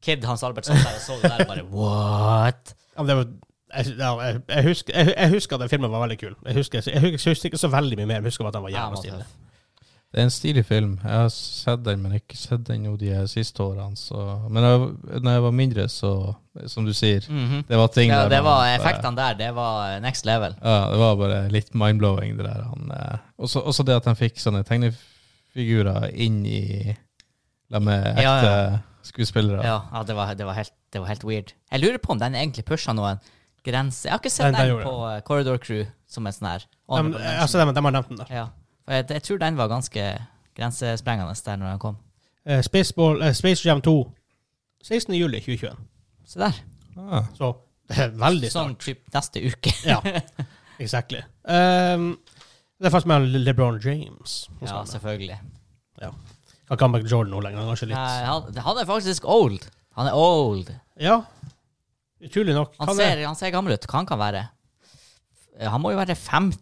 Kid Hans Albert satt der og så det der og bare What?
Ja, men det var, jeg, ja, jeg, jeg, husker, jeg, jeg husker at den filmen var veldig kul. Jeg husker, jeg, husker, jeg husker ikke så veldig mye mer, men jeg husker bare at den var
Ja,
jævla
han var
stilig.
tøff.
Det er en stilig film. Jeg har sett den, men ikke sett den jo de siste årene. Så. Men jeg, når jeg var mindre, så Som du sier,
Mhm.
det var ting
Ja,
der
det
man-
var effektene der. Det var eh, next level.
Ja, det var bare litt mind-blowing, det der. Han, eh, også, også det at han fikk sånne tegnefigurer inn i La med ekte
Ja, ja.
skuespillere.
Ja, ja det, var, det, var helt, det var helt weird. Jeg lurer på om den egentlig pusha noen grenser. Jeg har ikke sett
Den- den
den,
gjorde
på eh, Corridor Crew som en sånn her.
De,
honorable mention.
altså, de, de har nevnt den der.
Ja. For jeg, jeg tror den var ganske grensesprengende der når den kom.
Eh, Spaceball, eh, Space Jam 2. 16. juli 2021.
Se der.
Ah,
Så det er veldig snart.
Sånn typ neste uke.
Ja, exactly. Um, det er faktisk med LeBron James.
Ja, selvfølgelig.
Kan ikke ha Michael Jordan nå lenger. Han er kanskje
Nei,
litt
han, han er faktisk old. Han er old.
Ja. Utrolig nok.
Han,
Kan
ser,
det.
han ser gammel ut. Hva han kan være? Eh, Han må jo være 50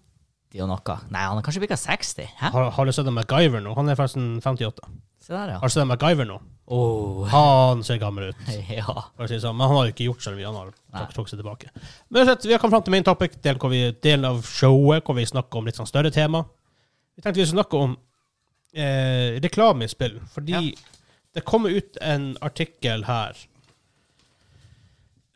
og noe. Nei, han er kanskje bikka 60. Hæ?
Har, har du sett en MacGyver nå? Han er forresten 58.
Se der, ja.
Har du sett en MacGyver nå?
Oh.
Han ser gammel ut.
ja.
for å si det sånn. Men han har jo ikke gjort så mye. Han har tok, tok seg tilbake. Men uansett, vi har kommet fram til main topic, del, hvor vi, del av showet hvor vi snakker om litt sånn større tema. Vi tenkte vi skulle snakke om eh, reklame i spill, fordi det kommer ut en artikkel her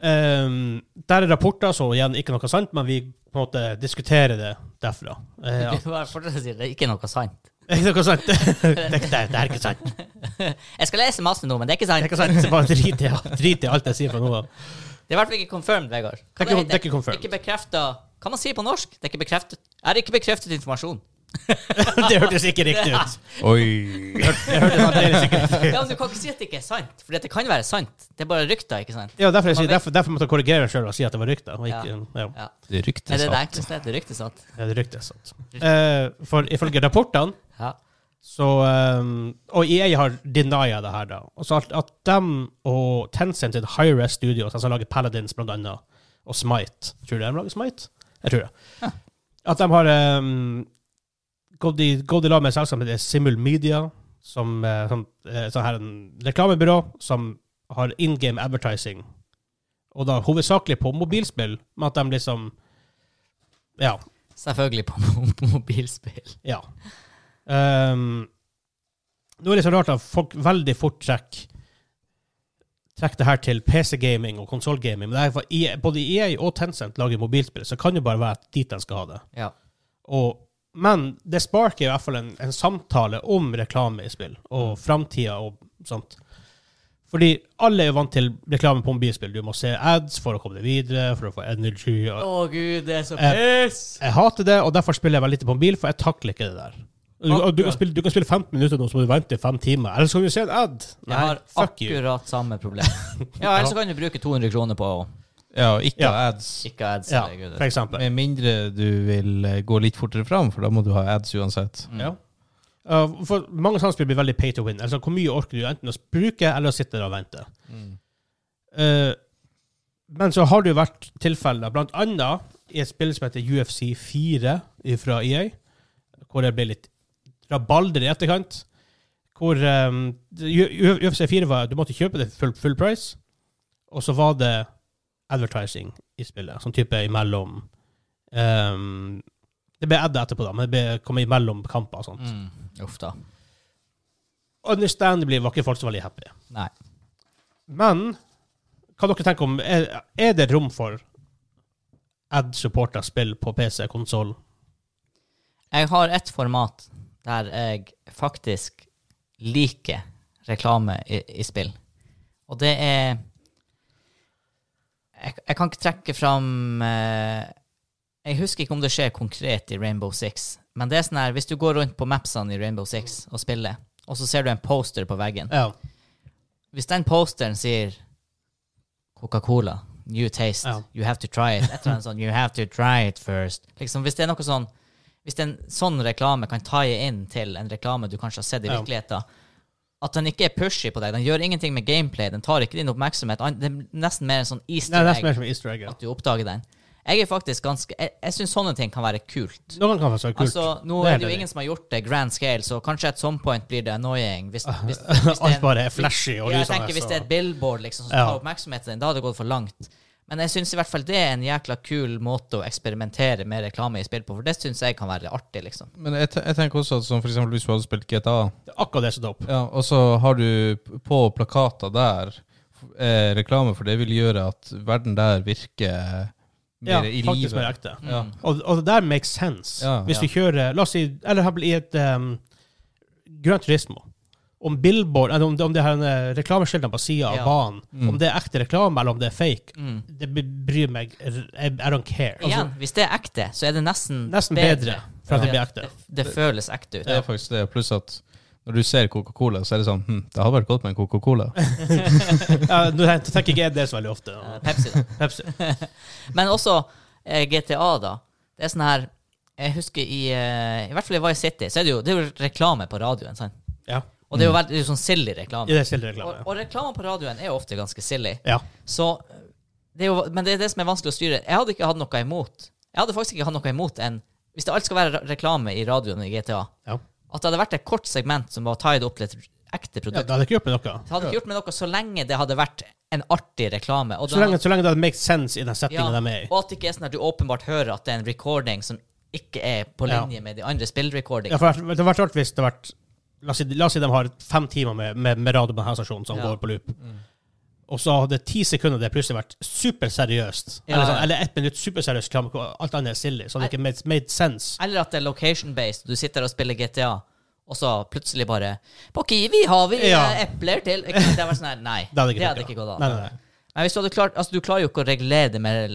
Ehm, Der er rapporter, så igjen ikke noe sant, men vi på en måte diskuterer det derfra. Eh,
Ja.
at-
Du bare fortsetter å si det er ikke noe sant.
ikke noe sant. det, er ikke- det, er- det er ikke sant.
Jeg skal lese masse nå, men det er ikke
Det er
sant.
ikke sant. Så sånn, Bare drit i, drit i alt jeg sier fra nå av.
Det er i hvert fall ikke confirmed, Vegard.
Det er
Hva
ikke-
heter
det er ikke confirmed.
Ikke bekrefta Kan man si på norsk? Det er ikke bekreftet Er ikke bekreftet informasjon.
Det hørtes ikke riktig ut.
Oi.
Jeg hørte sånn, det er sikkert
Ja, men Du kan ikke si at det ikke er sant, for det kan være sant. Det er bare rykter, ikke sant?
Ja, derfor, jeg sier,
Man vet-
derfor, derfor måtte jeg korrigere meg sjøl og si at det var rykter. Og ikke, ja.
Ja.
Det
Er
ryktes
det det
at
enkleste? Det er ryktet sant?
det er ryktet, sant. Eh, for ifølge rapportene
Ja.
så eh, Og EA har denia det her, da. Og så at, at dem og Tencent sitt High-Rest Studios, de som lager Paladins blant annet, og Smite Tror du de lager Smite? Jeg tror det. At de har eh, gått i gått i lag med et selskap som heter Simul Media, som, eh, som eh, sånn her en reklamebyrå som har in game advertising, og da hovedsakelig på mobilspill, med at de liksom Ja.
Selvfølgelig på mo- på mobilspill.
Ja. Ehm, nå er det så rart at folk veldig fort trekker trekk det her til PC-gaming og konsollgaming. Men det er for EA, både EA og Tencent lager mobilspill, så det kan jo bare være dit de skal ha det.
Ja.
Og, men det sparker i hvert fall en, en samtale om reklame i spill, og framtida og sånt. Fordi alle er jo vant til reklame på mobilspill. Du må se ads for å komme deg videre, for å få energy. Og,
Å gud, det er så
Eh,
piss!
jeg hater det, og derfor spiller jeg veldig lite på mobil, for jeg takler ikke det der. Du, og du, kan, spille, du kan spille 15 minutter nå, så må du vente i 5 timer. Eller så kan du se en ad.
Jeg har
fuck you.
akkurat samme problem. Ja, ellers så kan du bruke 200 kroner på å
Ja, og ikke
Ja.
ads.
ikke ha ads.
Ja,
eller gud.
for eksempel.
Med mindre du vil eh, gå litt fortere fram, for da må du ha ads uansett.
Mm.
Ja. Uh, for mange samspill blir veldig pay to win. Altså, hvor mye orker du enten å bruke, eller å sitte der og vente? Uh, men så har det jo vært tilfeller, blant annet i et spill som heter UFC 4 fra EA, hvor det ble litt rabalder i etterkant, hvor um, U- U- UFC 4 var, du måtte kjøpe det full, full price, og så var det advertising i spillet, sånn type imellom um, Det ble adda etterpå, da, men det ble, kom imellom kamper og sånt.
Mm. Uff da.
Understandably var ikke folk så veldig happy.
Nei.
Men hva dere tenker om Er, er det rom for ad-supporta spill på PC, konsoll?
Jeg har et format der jeg faktisk liker reklame i, i spill. Og det er Jeg, jeg kan ikke trekke fram eh, Jeg husker ikke om det skjer konkret i Rainbow Six, men det er sånn her, hvis du går rundt på mapsene i Rainbow Six og spiller, og så ser du en poster på veggen
Ja.
Hvis den posteren sier Coca-Cola, new taste,
Ja.
you have to try it, et eller annet sånn, you have to try it first. Liksom, hvis det er noe sånn, hvis en sånn reklame kan tie inn til en reklame du kanskje har sett i
Ja.
virkeligheten, at den ikke er pushy på deg, den gjør ingenting med gameplay, den tar ikke din oppmerksomhet, an- det er nesten mer en sånn
Nei,
easter
det er
egg
mer som easter egg. ja.
at du oppdager den. Jeg er faktisk ganske, jeg, jeg synes sånne ting kan være kult.
Noen kan faktisk være kult.
Altså, nå
Det er
er
helt
det jo
enig.
ingen som har gjort det grand scale, så kanskje at some point blir det annoying. Hvis, hvis, hvis, det er
Alt
en-
bare er flashy og
ja, jeg
lysende,
tenker Hvis
så-
det er et billboard liksom, som
Ja.
tar oppmerksomheten din, da hadde det gått for langt. Men jeg syns i hvert fall det er en jækla kul måte å eksperimentere med reklame i spill på, for det syns jeg kan være artig, liksom.
Men jeg, te- jeg tenker også at som for eksempel hvis du hadde spilt GTA,
Det er akkurat det som er topp.
ja, og så har du p- på plakater der eh, reklame, for det vil gjøre at verden der virker
Ja,
mer i
faktisk
livet.
mer ekte.
Mm.
Ja.
Og, og det der makes sense.
Ja.
Hvis du kjører La oss si Eller her blir i et um, Grønn Turismo. Om billboard Eller om, det- om det her eh, reklameskiltene på sida
Ja.
av banen, om det er ekte reklame eller om det er fake,
Mm.
det bryr meg I, I don't care.
Igjen, hvis det er ekte, så er det nesten,
Altså- Nesten bedre, for at det blir ekte.
Det, det føles ekte ut.
Det er faktisk det, pluss at når du ser Coca-Cola, så er det sånn hm, Det hadde vært godt med en Coca-Cola.
Ja, Nå tenker tenker ikke jeg det så veldig ofte.
Eh, Pepsi, da.
Pepsi.
Men også eh, GTA, da. Det er sånn her Jeg husker i eh, I hvert fall i Vice City, så er det jo, det er jo reklame på radioen. Sant?
Ja.
Og
Mm.
det er jo veldig det er jo sånn silly
I
reklame.
det stille
Og,
reklame.
og reklame på radioen er jo ofte ganske silly.
Ja.
Så Det er jo, men det er det som er vanskelig å styre. Jeg hadde ikke hatt noe imot Jeg hadde faktisk ikke hatt noe imot en Hvis det alt skal være re- reklame i radioen i GTA,
Ja.
at det hadde vært et kort segment som var tied opp til et ekte
Ja,
produkt.
det hadde ikke hjulpet noe.
Det hadde ikke gjort meg noe så lenge det hadde vært en artig reklame. Og
Så
det
lenge, så lenge det hadde make sense i den
Ja,
settingen de er i.
og at det ikke er sånn at du åpenbart hører at det er en recording som ikke er på
Ja.
linje med de
Ja,
andre spillrecordingene.
for det hadde vært rart hvis det hadde vært La oss si, la oss si de har fem timer med, med, med radio på denne stasjonen som
Ja. Mm.
går på loop. Og så hadde ti sekunder det plutselig vært superseriøst.
Ja,
Eller, sånn,
ja.
eller ett minutt superseriøst kram, hvor alt annet er silly. Så det ikke made, made sense.
Eller at det er location-based. Du sitter og spiller GTA, og så plutselig bare På Kiwi har vi eh,
Ja.
epler til Ikke sant? Det var sånn her, Nei.
Det hadde ikke, funket,
gått
da.
an.
Nei, nei, nei.
Nei, hvis du hadde klart Altså, du klarer jo ikke å regulere det med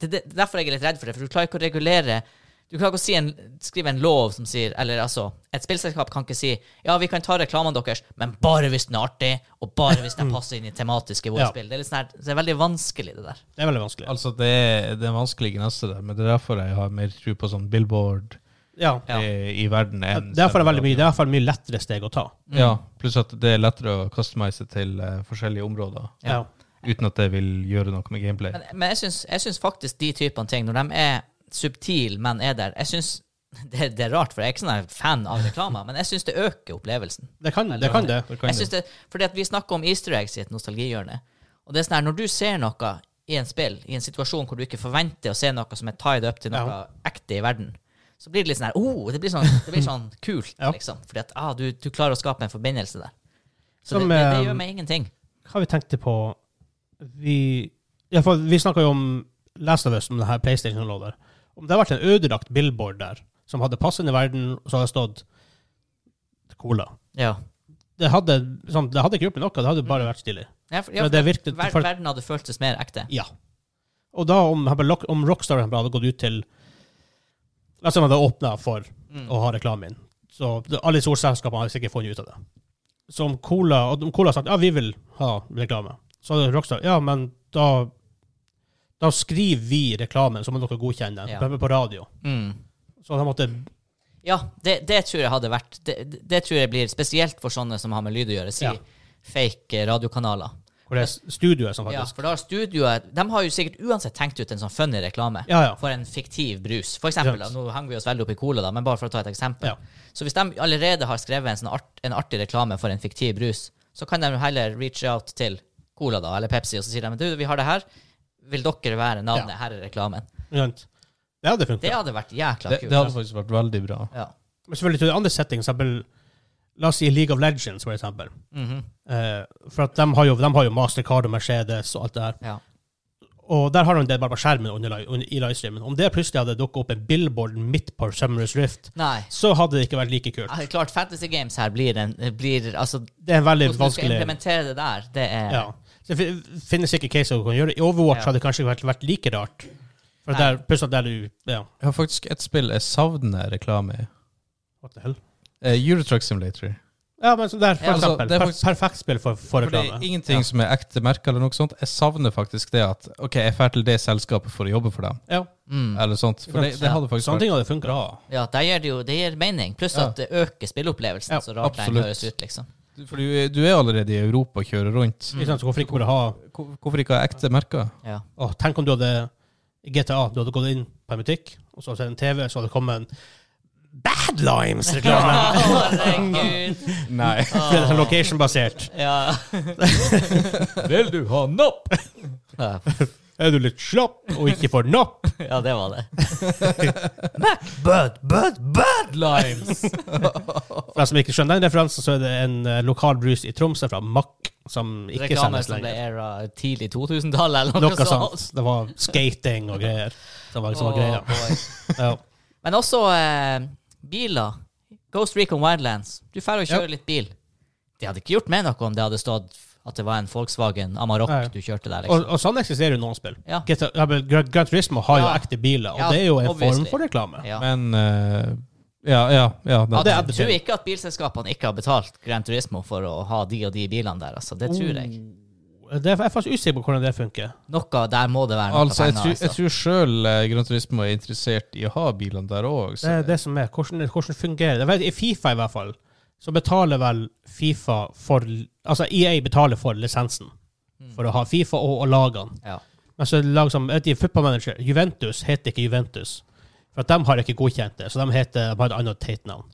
det, det, Derfor er jeg litt redd for det, for du klarer ikke å regulere Du klarer ikke å si en, skrive en lov som sier Eller altså, et spillselskap kan ikke si Ja, vi kan ta reklamene deres, men bare hvis den er artig, og bare hvis den passer inn i tematisk i vårt
Ja.
spill. Det er litt sånn her Det er veldig vanskelig, det der.
Det er veldig vanskelig.
Altså, det er det er en vanskelig gneste der, men det er derfor jeg har mer tro på sånn billboard
Ja.
Ja.
eh, i verden enn
Derfor er det veldig mye, det er i hvert fall mye lettere steg å ta.
Ja, pluss at det er lettere å customize til eh, forskjellige områder
Ja.
Ja.
uten at det vil gjøre noe med gameplay.
Men, men jeg, syns, jeg syns faktisk de typene ting, når de er subtile, men er der Jeg syns det, det er rart, for jeg er ikke sånn her fan av reklamer, men jeg syns det øker opplevelsen.
Det kan det. Kan det.
Det kan
Jeg
det.
synes det, fordi at Vi snakker om easter eggs i et nostalgihjørne. Og det er sånn her, Når du ser noe i en spill, i en situasjon hvor du ikke forventer å se noe som er tied up til noe
Ja.
ekte i verden, så blir det litt sånn her oh, Det blir sånn, det blir sånn kult,
Ja.
liksom. Fordi at ah, du, du klarer å skape en forbindelse der. Så
Som,
det, det,
eh,
det gjør meg ingenting.
Hva vi tenkte på Vi, ja, for vi snakka jo om Last of Us, om det her PlayStation-lånet. Om det hadde vært en ødelagt billboard der, som hadde passet inn i verden, og så hadde det stått Cola.
Ja.
Det hadde, sånn, det hadde ikke hjulpet noe, det hadde bare vært stilig.
Ja, for,
Men
ja,
det
for
virket
ver,
folk-
verden hadde føltes mer ekte.
Ja. Og da, om, han ble lock- om Rockstar for eksempel hadde gått ut til La oss si om han hadde åpna for
Mm.
å ha reklame inn, så det- alle solselskapene hadde sikkert funnet ut av det. Så om Cola og om Cola hadde sagt ja, vi vil ha reklame, så hadde Rockstar ja, men da da skriver vi reklamen, så må dere godkjenne den.
Ja.
På- På radio.
Mm.
Så de måtte
Ja, det, det tror jeg hadde vært det, det- det tror jeg blir spesielt for sånne som har med lyd å gjøre, si
Ja.
fake eh, radiokanaler.
Hvor det er studioet som faktisk
Ja, for da har studioet De har jo sikkert uansett tenkt ut en sånn funny reklame
Ja, ja.
for en fiktiv brus. For eksempel,
Ikke sant.
da, nå henger vi oss veldig opp i cola, da, men bare for å ta et eksempel.
Ja.
Så hvis de allerede har skrevet en, sånn art, en artig reklame for en fiktiv brus, så kan de jo heller reach out til Cola da, eller Pepsi, og så sier de du, vi har det her. Vil dere være navnet?
Ja.
Her er reklamen.
Ikke sant? Det hadde funka.
Det hadde vært jækla kult.
Det,
altså.
det hadde faktisk vært veldig bra.
Ja.
Men selvfølgelig til andre settings, eksempel, la oss si League of Legends, for eksempel.
Mhm.
Eh, for at de har, jo, de har jo Mastercard og Mercedes og alt det der.
ja.
Og der har de det bare på skjermen under, li- under, i livestreamen. Om det plutselig hadde dukket opp en billboard midt på Summer's Rift,
Nei.
så hadde det ikke vært like kult.
Ja, Klart, Fantasy Games her blir en blir, Altså,
Det er en veldig
hvordan du skal
vanskelig
implementere det der, det er
ja. Så Det fin- finnes ikke caser du kan gjøre. I Overwatch
Ja.
hadde det kanskje ikke vært, vært like rart. For
Nei.
der, pluss at der du Ja,
Jeg har faktisk et spill jeg savner reklame i.
what the hell?
Eh, Eurotruck Simulator.
Ja, men så der, for
Ja,
altså,
eksempel.
det er
Per-
faktisk-
perfekt spill for, for
For det
reklame.
er ingenting som er ekte merker eller noe sånt. Jeg savner faktisk det at OK, jeg drar til det selskapet for å jobbe for dem,
Ja.
mm.
eller sånt. For det, det hadde faktisk
Sånne
vært
ting hadde funka.
Ja, det gir det jo det gir mening. Pluss
Ja.
at det øker spilleopplevelsen.
Ja,
så rart den
absolutt.
høres ut, liksom.
For du, du er allerede i Europa og kjører rundt.
Ikke sant, så
Mm.
Hvorfor ikke bare ha
Hvor- Hvorfor ikke ha ekte merker?
Ja.
Åh, tenk om du hadde i GTA, du hadde gått inn på en butikk, og så hadde du sett en TV, så hadde det kommet en Bad Limes-reklame!
Herregud.
Nei.
Det er sånn Location-basert.
Ja.
Vil du ha napp?
Er du litt slapp og ikke får napp?
ja, det var det.
Bud, bud, bud!
Limes.
For deg som ikke skjønner den referansen, så er det en eh, lokal brus i Tromsø fra Mack som ikke
Reklame
sendes
som ble
lenger.
era tidlig 2000-tall, eller noe,
Noe sånt.
sånt.
Det var skating og greier. Det var, som var
sånn. Åh,
greia.
boy.
Ja.
Men også eh, biler. Ghost Recon Wildlands. Du drar og kjører litt bil. Det hadde ikke gjort meg noe om det hadde stått at det var en Volkswagen Amarok
Nei.
du kjørte der.
Og,
Liksom.
og sånn eksisterer jo noen spill.
Ja.
GTA, ja, men Gran Gran Turismo har jo
Ja.
ekte biler, og
Ja,
det er jo en form
obviously.
for reklame.
Ja.
Men eh, Ja, ja. ja
Ja,
det,
det er
jeg tror ikke at bilselskapene ikke har betalt Gran Turismo for å ha de og de bilene der. Altså.
Mm.
Det tror jeg.
Det er jeg er faktisk usikker på hvordan det funker.
Noe der må det være noe
altså, jeg
penger.
tror,
altså.
jeg tror sjøl eh, Gran Turismo er interessert i å ha bilene der òg.
Det er det som er. Hvordan, hvordan fungerer det? Jeg Vet, I Fifa i hvert fall, så betaler vel Fifa E for Altså EA betaler for lisensen for å ha Fifa og, og lagene.
Ja.
Men så lag som et i Football Manager, Juventus heter ikke Juventus. For at de har ikke godkjent det, så de heter bare et annet teit navn.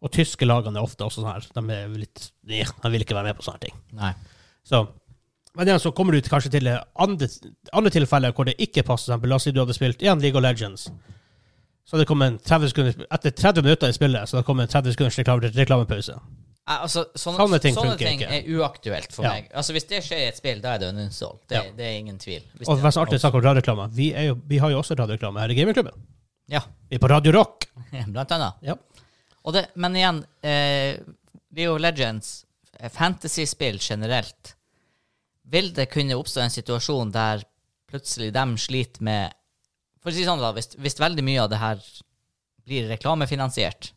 Og tyske lagene er ofte også sånn her. De er litt ja, De vil ikke være med på sånne ting.
Nei.
Så men igjen så kommer du til- kanskje til andre, andre tilfeller hvor det ikke passer. For eksempel, La oss si du hadde spilt igjen League of Legends. Så hadde det kommet en 30 sekunder, etter 30 minutter i spillet så hadde det kommet en 30 sekunders reklam- reklamepause.
Nei, Altså, sånne,
Sånne ting
ting, sånne
funker
ting
ikke.
er uaktuelt for
Ja.
meg. Altså, Hvis det skjer i et spill, da er det en unnstall. Det,
Ja.
det er ingen tvil. Hvis
Og det
det-
var så artig å snakke om radioreklame. Vi, er jo, vi har jo også radioreklame her i gamingklubben.
Ja,
Vi er på Radio Rock.
blant annet.
Ja.
Og det, men igjen, eh, Leo Legends, eh, fantasy-spill generelt, vil det kunne oppstå en situasjon der plutselig de sliter med For å si det sånn, da, hvis, hvis veldig mye av det her blir reklamefinansiert,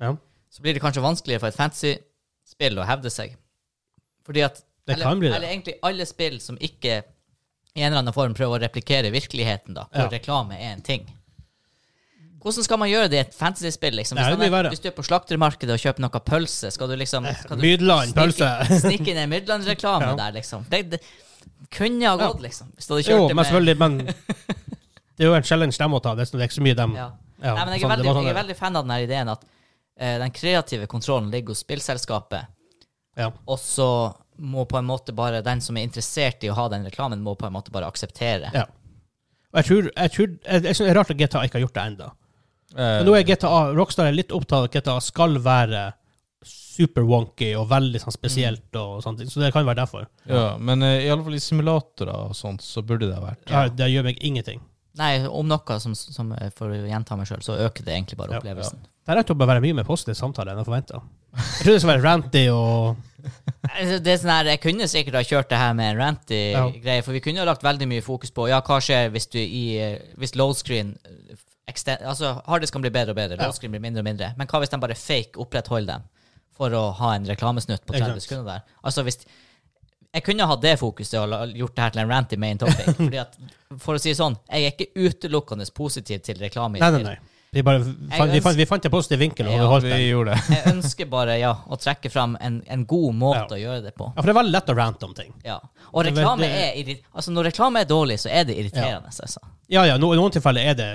ja.
så blir det kanskje vanskeligere for et fantasy-spill å hevde seg. Fordi at
Det kan bli det.
Eller egentlig alle spill som ikke i en eller annen form prøver å replikere virkeligheten, da, hvor
Ja.
reklame er en ting. Hvordan skal man gjøre det i et fantasy-spill? Liksom?
Nei,
Hvis,
det
man
blir
er-
verre.
hvis du er på slaktermarkedet og kjøper noe pølse, skal du liksom skal du
Mydland
snike-
pølse.
Snike inn en Mydland-reklame
Ja. der,
der, liksom. Det, kunne ha
gått,
gått, liksom. Hvis du hadde
Jo,
kjørt det
men selvfølgelig, men det er jo en challenge de må ta. Det er sånn- det er ikke så mye de
Ja.
Ja,
Nei, men jeg
sånn, det
er, veldig,
var sånn
jeg er
det-
veldig fan av den her ideen at eh, den kreative kontrollen ligger hos spillselskapet,
Ja.
og så må på en måte bare den som er interessert i å ha den reklamen, må på en måte bare akseptere.
ja. Og jeg tror, jeg tror jeg, jeg synes det er rart at GTA ikke har gjort det ennå.
Eh,
Men nå er GTA, Rockstar er litt opptatt av at GTA skal være super wonky og veldig sånn spesielt, og sånne ting, så det kan være derfor.
ja, men eh, i alle fall i simulatorer og sånt, så burde det ha vært
Ja, det gjør meg ingenting.
Nei, om noe, som, som eh, for å gjenta meg sjøl, så øker det egentlig bare
Ja.
opplevelsen.
Det er rett og slett å være mye mer positiv samtale enn jeg forventa. Jeg tror det skal være ranty og
Altså, Det er sånn her, Jeg kunne sikkert ha kjørt det her med en ranty
Ja.
greie, for vi kunne jo lagt veldig mye fokus på ja, hva skjer hvis du i eh, Hvis load screen eh, extend, Altså, harddisken blir bedre og bedre,
Ja.
load screen blir mindre og mindre, men hva hvis de bare fake opprettholder dem for å ha en reklamesnutt på
Ikke
30
sant.
sekunder der? Altså, hvis jeg kunne hatt det fokuset og la- gjort det her til en ranty main topic. fordi at, For å si det sånn, jeg er ikke utelukkende positiv til reklame. i
Nei, nei,
spill.
nei. Vi, bare, fant, vi, fant, vi fant en positiv vinkel, og
Ja,
vi holdt den.
Vi gjorde det.
Jeg ønsker bare ja, å trekke fram en, en god måte å gjøre det på.
Ja, for det er veldig lett å rante om ting.
Ja. Og
Men
reklame
det-
er irri- Altså, når reklame er dårlig, så er det irriterende, altså.
Ja, ja, no, i noen tilfeller er det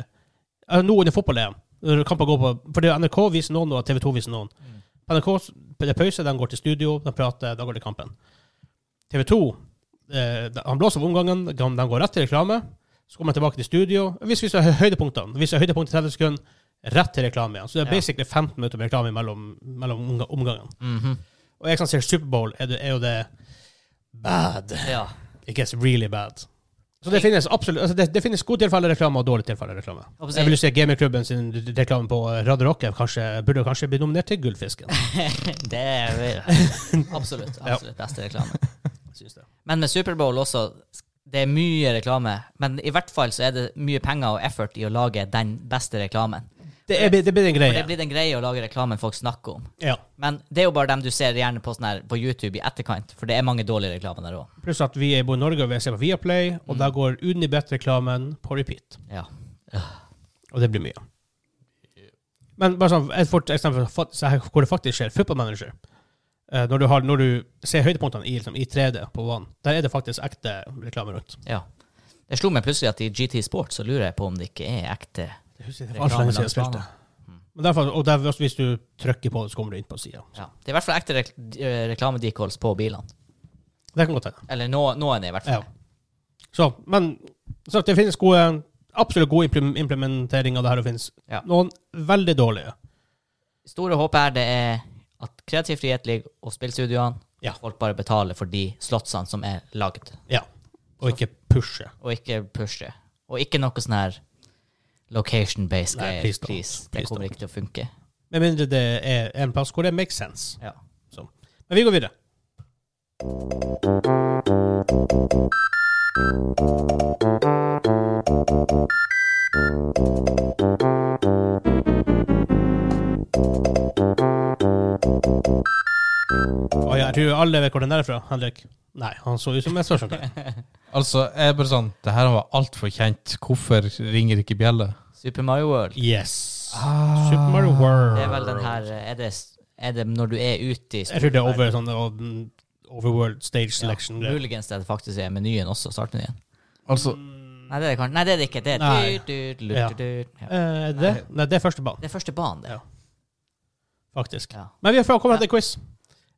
eh, Nå under fotball-EM når kampen går på For det er NRK viser noen, og TV 2 viser noen. På NRK s- det er pause, de går til studio, de prater, da går det kampen. TV 2 eh, de- Han blåser opp omgangen, de de går rett til reklame. Så kommer de tilbake til studio. Hvis vi ser hø- høydepunktene, hvis vi ser høydepunkt i 30 sekunder, rett til reklame igjen. Så det er
Ja.
basically 15 minutter med reklame mellom, mellom omga- omgangen.
Mhm.
Og jeg som ser Superbowl, er, det- er jo det bad.
Ja.
It gets really bad. Så det finnes absolutt altså det, det finnes gode tilfeller reklame og dårlige tilfeller reklame.
Hva sier-
Jeg vil jo si at gamingklubben sin reklame på Radio Rock er kanskje, burde jo kanskje bli nominert til Gullfisken.
Det er absolutt, absolutt beste reklame.
Synes jeg.
Men med Superbowl også, det er mye reklame. Men i hvert fall så er det mye penger og effort i å lage den beste reklamen.
Det, er, det blir en
For
greie.
det blir en greie å lage reklamen folk snakker om.
Ja.
Men det er jo bare dem du ser gjerne på, sånn her, på YouTube i etterkant, for det er mange dårlige reklamer der òg.
Pluss at vi er i både Norge og vi ser på Viaplay,
Mm.
og der går Unibet-reklamen på repeat.
Ja.
Og det blir mye. Men bare sånn, et fort eksempel for- så her hvor det faktisk skjer. Football manager. Eh, når, du har, når du ser høydepunktene i, liksom, i 3D på vann, der er det faktisk ekte reklame rundt.
ja. Det slo meg plutselig at i GT Sport så lurer jeg på om det ikke er ekte
Det husker jeg, det var altfor
reklame
lenge siden jeg
langs
spilte.
banen.
Men derfor, og der, hvis du trykker på det, så kommer du inn på sida.
Ja. Det er i hvert fall ekte rek- eh, reklame-decoys på bilene.
Det kan godt hende.
Eller nå, noen, er i hvert
Ja.
fall.
Så, men så det finnes gode, absolutt god implem- implementering av det her. Det finnes
Ja.
noen veldig dårlige.
Store håpet her det er at kreativ frihet ligger og spillstudioene.
Ja.
Folk bare betaler for de slotsene som er lagd,
Ja. Og ikke pushe.
og ikke pusher. Og ikke noe sånn her location-based
Nei,
greier.
please
Please,
don't.
Det
Please
kommer ikke til å funke.
Med mindre det er en plass hvor det makes sense.
Ja.
Så. Sånn. Men vi går videre. Å ja, jeg tror alle vet hvor den er fra, Henrik. Nei, han så ut som en spørsmål.
Altså, jeg er bare sånn Det her var altfor kjent. Hvorfor ringer ikke bjella?
Super Mario World.
Yes. Super Mario World.
Det er vel den her eh, Er det, er det når du er ute i
Jeg tror det er over sånn um, Overworld Stage Selection.
Muligens det faktisk er menyen også, startmenyen.
Altså,
Nei, det er det, kanskje- nei, det, er det ikke. Det er
Nei.
dyrt, dyrt,
Ja.
dyrt, dyrt. Ja.
Eh, det, nei, det er første banen,
Det er første banen, det.
Ja. faktisk.
Ja.
Men vi har kommet til quiz.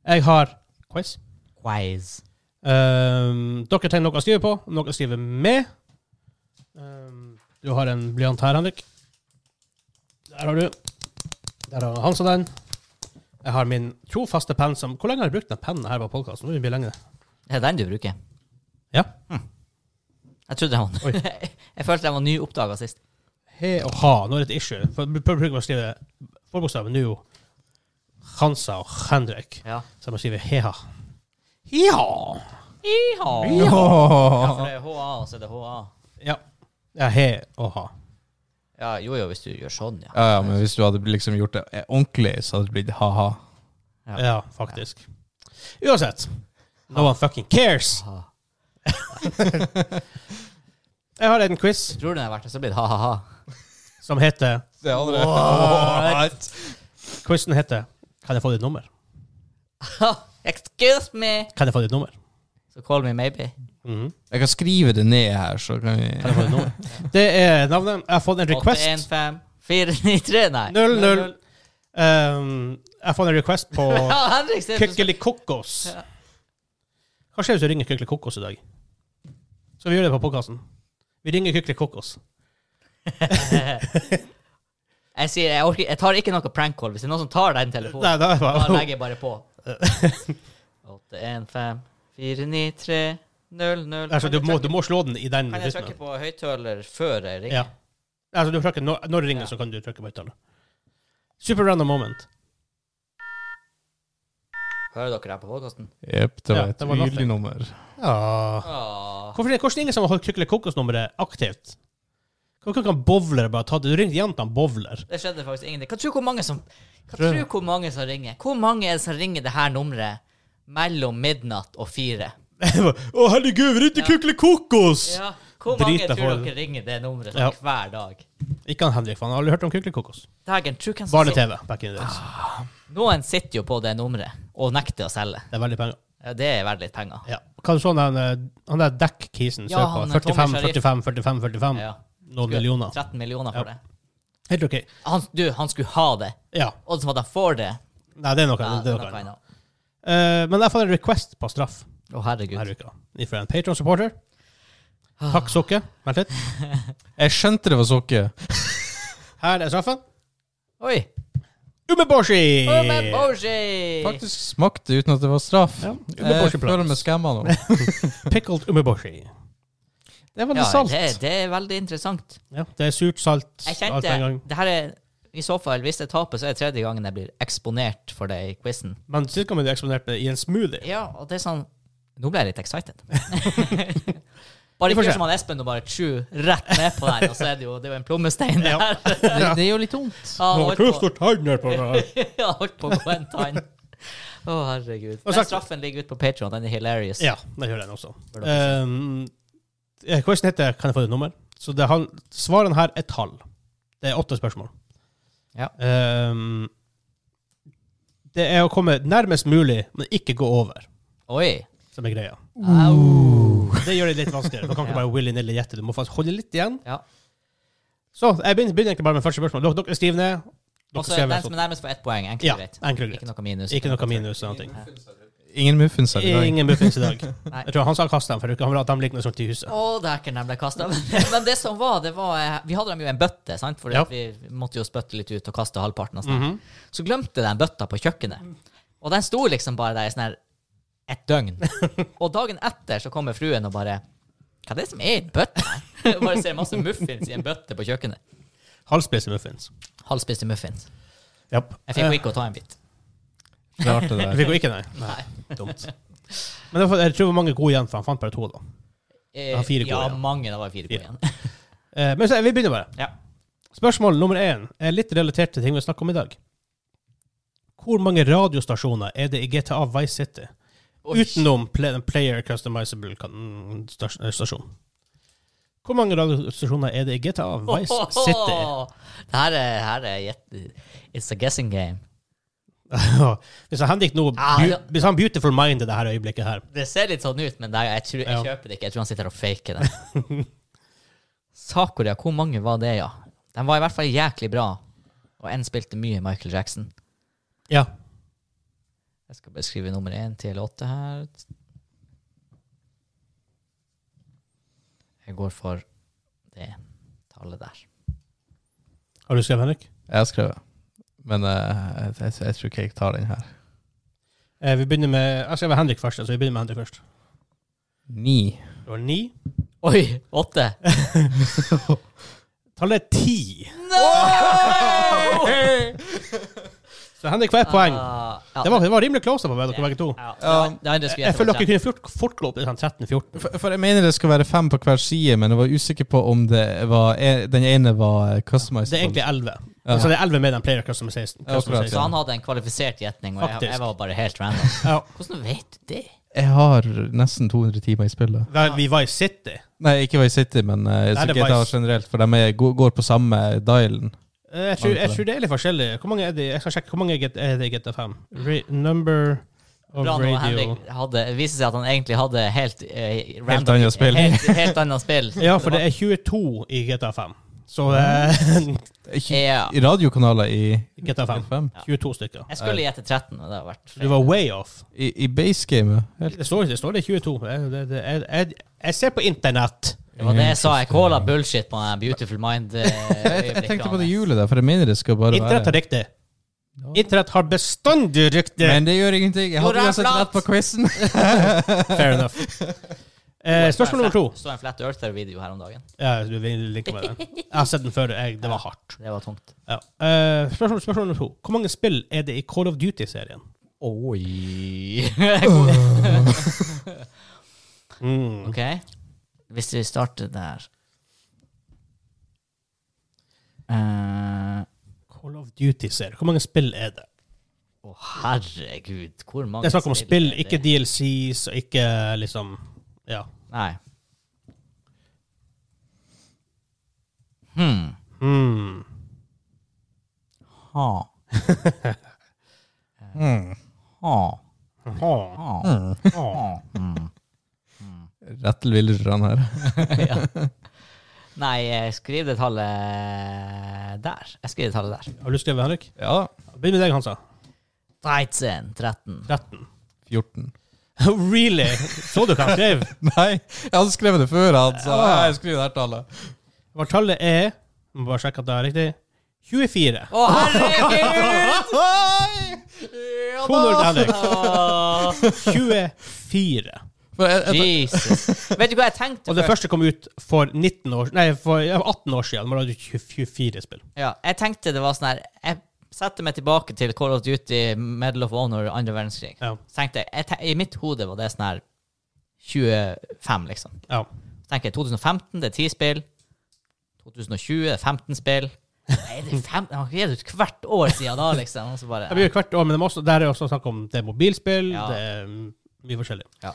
Jeg har quiz.
Quiz.
Um, dere trenger noe å skrive på, noe å skrive med. Um, du har en blyant her, Henrik. Der har du. Der har Hansa den. Jeg har min trofaste penn som Hvor lenge har jeg brukt den pennen her på podkasten? Nå begynner det å bli lenge.
Det er den du bruker.
Ja.
Jeg trodde den
Oi.
var Jeg følte den var nyoppdaga sist.
He og ha. Nå er det et issue. For- Prøv prøv å skrive forbokstaven nå. Hansa og Henrik.
Ja.
Så jeg må skrive heha. Heha!
Iha. Ja, for
Åh.
det er HA, og så er det HA.
Ja. ja. He og ha.
Ja, jo jo, hvis du gjør sånn, ja.
Ja, ja, men hvis du hadde liksom gjort det eh, ordentlig, så hadde det blitt ha-ha.
Ja.
Ja, faktisk. Uansett. No one fucking cares.
Ha.
Jeg har en quiz
Tror du den har vært det, så blir det ha-ha-ha.
som heter
Det andre
What? Quizen heter Kan jeg få ditt nummer?
Excuse me.
Kan jeg få ditt nummer?
So call me maybe.
Mhm.
Jeg kan skrive det ned her, så kan vi
Kan jeg få ditt nummer? Det er navnet. Jeg har fått en request.
815-493, nei.
00. Um, jeg har fått en request på
Ja, Henrik ser ut som
Kykkeli-kokos. Hva skjer hvis vi ringer Kykkeli-kokos i dag? Skal vi gjøre det på podkasten? Vi ringer Kykkeli-kokos.
Jeg sier, jeg, orker, jeg tar ikke noe prank call. Hvis det er noen som tar den telefonen,
Nei, da er det
da
bare
legger jeg bare på. 815-493-00.
altså, du, må, du må slå den i den
Kan jeg trykke
rytmen.
på høyttaler før jeg ringer?
Ja. Altså, du trykker, når, når det ringer,
Ja.
så kan du trykke på høyttaler. Super random moment.
Hører dere her på podkasten?
Jepp, det
Ja,
var et
det var nothing.
nydelig nummer.
Ja.
Åh.
Hvorfor er det hvordan er det ingen som har holdt Kykkeli Kokos-nummeret aktivt? Hvorfor kan bowlere bare ta det? Du ringte igjen til han bowler.
Det skjedde faktisk ingenting. Hva tror du hvor mange som Hva tror du hvor mange som ringer? Hvor mange er det som ringer det her nummeret mellom midnatt og fire?
Å, herregud, vi ringte Kykkeli Kokos!
Ja, Hvor
Drit
mange
deg
tror
for-
dere ringer det nummeret
Ja.
hver dag?
Ikke han Henrik, for han har aldri hørt om Kykkeli Kokos.
Dagen, tror hvem som sitter.
Barne-TV back in the days.
Ah. Noen sitter jo på det nummeret og nekter å selge.
Det er veldig penger.
Ja, det er verdt litt penger.
Ja. Hva så han, eh, han der Deck-kisen
Ja,
sør på?
han er Tommy
45,
Sharif.
45, 45, 45.
Ja.
Noen millioner.
13 millioner
Ja.
for det.
Helt OK.
Han, du, han skulle ha det.
Ja.
Odds for at han får det.
Nei, det er noe.
Ja,
det er
nok
noe. annet.
annet.
Eh, men jeg fant en request på straff
Å, herregud. Ah.
denne uka. Fra en Patron-supporter. Takk, Sokke. Vent litt.
Jeg skjønte det var sokke.
Her er straffen.
Oi!
Umeboshi!
Oh, men Boshi!
Faktisk smakte uten at det var straff.
Ja,
jeg
Umeboshi-prat.
føler meg skamma nå.
Pickled umeboshi.
Det er
Ja,
veldig salt.
det, det er veldig interessant.
Ja, det er surt, salt,
Jeg
alt på en gang.
kjente det her er I så fall, hvis jeg taper, så er det tredje gangen jeg blir eksponert for det i quizen.
Men cirka med det eksponerte i en smoothie.
Ja, og det er sånn Nå ble jeg litt excited. bare
Vi får
ikke
se.
gjør som han Espen og bare tju rett ned på der, og så er det jo, det er jo en plommestein der.
Ja.
Ja.
Det, det er jo litt vondt.
Han
Nå
holdt på-
krysser tegner på det her.
Ja, holdt på å gå en tann. Å, herregud.
Og
Den
sagt-
straffen ligger ute på Patreon Den er hilarious.
Ja, det gjør den også.
Bør
Um, eh, Quizen heter 'Kan jeg få ditt nummer?' Så det han, svarene her er tall. Det er åtte spørsmål.
Ja.
Um, det er å komme nærmest mulig, men ikke gå over,
Oi.
som er greia.
Au.
Det gjør det litt vanskeligere. Du kan ikke
Ja.
bare willy-nilly gjette. Du må faktisk holde litt igjen.
Ja.
Så jeg begynner, begynner egentlig bare med første spørsmål. Dere, dere skriver ned. Dere
Og så
ser
er
hvem
den
som-
som er nærmest på ett poeng. Enkelt
Ja,
og greit.
enkelt og greit.
Ikke noe minus.
Ikke noe minus eller noe.
Ingen muffins her i dag.
Ingen muffins i dag.
Nei.
Jeg tror han sa kast dem, for han vil at de ligner sånt i huset.
Å, dæken, de ble kasta. Men det som var, det var eh, Vi hadde dem jo i en bøtte, sant? Fordi
Ja.
at vi måtte jo spytte litt ut og kaste halvparten. Og sånn.
Mhm.
Så glemte jeg den bøtta på kjøkkenet. Og den sto liksom bare der i sånn her et døgn. Og dagen etter så kommer fruen og bare Hva er det som er i bøtta? Jeg bare ser masse muffins i en bøtte på kjøkkenet.
Halvspisse muffins.
Halvspiste muffins.
Yep.
Jeg fikk jo ikke å ta en bit.
Rart det
Du
der.
Eh, fikk jo ikke, nei? nei. Dumt. Men det var- jeg tror det var mange gode igjen, for han fant bare to, da.
Eh,
Jeg har fire
ja,
gode, ja.
mange. Da var jeg fire gode
Fire.
igjen.
Eh, Men så, vi begynner bare.
Ja.
Spørsmål nummer én er litt relatert til ting vi snakker om i dag. Hvor mange radiostasjoner er det i GTA Vice City?
Oi.
Utenom pla- den player customizable kan- stas- eh, stasjon. Hvor mange radiostasjoner er det i GTA Vice City?
Ohoho! Det her er, her er gjett- It's a guessing game.
Hvis han Henrik nå
Ah, ja.
Hvis han beautiful mind i det her øyeblikket her
Det ser litt sånn ut, men det, jeg, tror, jeg
Ja.
kjøper det ikke. Jeg tror han sitter og faker det. Sakuria, hvor mange var det, ja? De var i hvert fall jæklig bra. Og en spilte mye Michael Jackson.
Ja.
Jeg skal bare skrive nummer én til åtte her. Jeg går for det tallet der.
Har du skrevet, Henrik?
Jeg har skrevet. Men eh, jeg, jeg, jeg tror ikke jeg tar den her.
Eh, vi begynner med Jeg skrev Henrik først, så vi begynner med Henrik først.
Ni.
Det var ni.
Oi! Åtte!
Tallet er ti.
No!
Så Henrik får ett poeng.
Ah, ja,
Det var, det var rimelig close på meg, dere begge to.
ja, det var- det var en du skulle
Jeg
gjette
føler
på,
dere kunne fort, fort gå opp til sånn 13-14.
For, for jeg mener det skal være fem på hver side, men jeg var usikker på om det var, en- den ene var customized.
Det er egentlig 11.
Ja.
Så det er 11 med den player customization.
Ja, akkurat,
Så
customization.
han hadde en kvalifisert gjetning, og jeg,
Faktisk.
jeg var bare helt random.
Ja.
Hvordan vet du det?
Jeg har nesten 200 timer i spillet.
Da- Vi var i City.
Nei, ikke Vice City, men eh,
Nei,
så
det er
GTA
Vice.
generelt, for de er, går går på samme dialen.
Eh, Jeg tror, jeg
Mange
tror det er litt forskjellig. Hvor mange er det? Jeg skal sjekke hvor mange er det- er det i GTA 5. Ra number of
Bra nå,
radio.
Henrik hadde, det viser seg at han egentlig hadde helt eh, random,
Helt annet spill.
Helt, helt annet spill.
Ja, for det er 22 i GTA 5. Så eh,
Ikke
Ja.
i radiokanaler i
GTA 5.
5.
22 stykker.
Jeg skulle gjette 13, men det har vært
Du var way off.
I, i basegamet. Helt
Det står, det står det 22. Jeg, det, det, jeg, jeg, jeg ser på internett.
Det var det jeg sa. Jeg calla bullshit på den Beautiful eh,
jeg, jeg tenkte på det
Mind-øyeblikket.
hjulet der, for jeg mener det skal bare
Internett har
være
riktig. Internett har bestandig riktig.
Men det gjør ingenting. Jeg
Jo, det
hadde
er
uansett
flatt.
rett på quizen.
Fair enough. Eh, spørsmål nummer to.
Det står en Flat Earther-video her om dagen.
Ja, du vil like med den. Jeg har sett den før. Jeg, det var hardt.
Det var tungt.
Ja. Eh, spørsmål, spørsmål nummer to. Hvor mange spill er det i Call of Duty-serien?
Oi.
Mm.
OK. Hvis vi starter der Eh,
Call of Duty-serie. Hvor mange spill er det?
Å, herregud. Hvor mange
Det er snakk om spill,
er det?
ikke DLCs, og ikke liksom Ja.
Nei. Hmm.
Mm.
Ha.
Hmm.
Eh, Ha.
Ha.
Ha.
Ha.
Ha. Mm.
Rettel villagerne her.
ja. Nei, eh, skriv det tallet der. Jeg skriver det tallet der.
Har du skrevet, Henrik?
Ja.
Begynn med deg, Hansa.
13. 13.
13.
14.
really? Så du hva han skrev?
Nei, jeg hadde skrevet det før. Han sa «Nei, jeg skriver det her tallet.
Vår tallet er Må bare sjekke at det er riktig. 24.
Å, herregud!
Nei!
200 til Henrik.
Å,
24.
For jeg, jeg,
Jesus. Vet du hva jeg tenkte
Og det
først?
første kom ut for 19 år Nei, for ja, 18 år siden. Man hadde 24 spill.
Ja, jeg tenkte det var sånn her Jeg setter meg tilbake til Call of Duty, Medal of Honor, andre verdenskrig.
Ja.
Så tenkte jeg, jeg te I mitt hode var det sånn her 25, liksom.
ja.
Så tenker jeg 2015, det er 10 spill. 2020, det er 15 spill. Nei, det er fem, det har ikke gitt ut hvert år siden da, liksom. Og så bare,
Det blir jo hvert år, men det må også, der er også snakk om det er mobilspill.
Ja.
Det er mm, mye forskjellig.
jeg,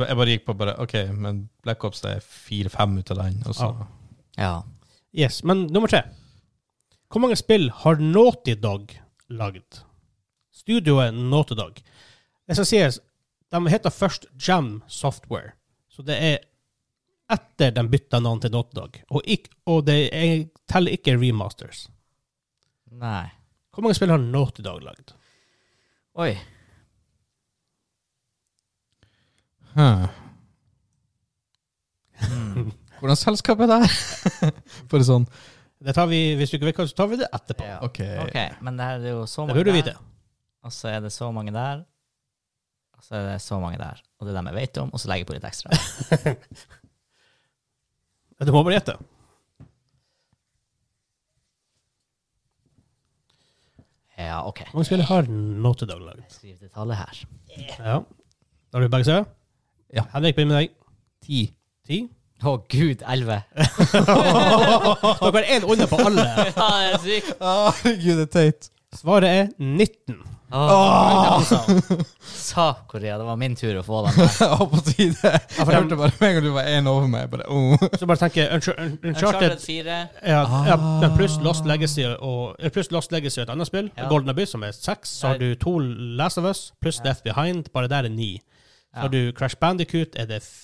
jeg bare gikk på bare OK, men Black Ops det er fire-fem ut av den. Og så.
Ja.
ja.
Yes, Men nummer tre. Hvor mange spill har Naughty Dog lagd? Studioet Naughty Dog. Det skal sies, de heter først Jam Software. Så det er etter de bytta navn til Naughty Dog. Og, ikk- og det er, teller ikke remasters.
Nei.
Hvor mange spill har Naughty Dog lagd?
Oi.
Huh. Hmm. Hvordan selskap er det her? Bare sånn
Det tar vi, Hvis du ikke vet hva, så tar vi det etterpå.
Ja.
OK.
OK, men det her er jo så
Det
mange
burde du
der,
vite.
Og så er det så mange der. Og så er det så mange der. Og det er dem jeg vet om, og så legger jeg på litt ekstra.
Du må bare gjette.
Ja, OK.
Hvor mange spill har Naughty Dog lagd?
Skriv det tallet her.
Ja. Da har du begge seg.
Ja.
Henrik, begynn med deg.
Ti.
Ti.
Å gud, 11.
Dere er én under på alle.
Ja, det er sykt.
Herregud, det er teit.
Svaret er 19.
Åh, Sa-Korea, det var min tur å få den. der.
Jeg var på tide. Jeg
dem-
hørte bare med en gang du var én over meg. Bare, oh.
Så bare tenker Uncharted,
Uncharted
Uncharted
4.
ja, ja, men pluss Lost Legacy og eh, pluss Lost Legacy og et annet spill,
Ja.
Golden Abyss, som er seks. Så har du to Last of Us pluss Death Behind. Bare der er ni. Så
Ja.
har du Crash Bandicoot, er det f-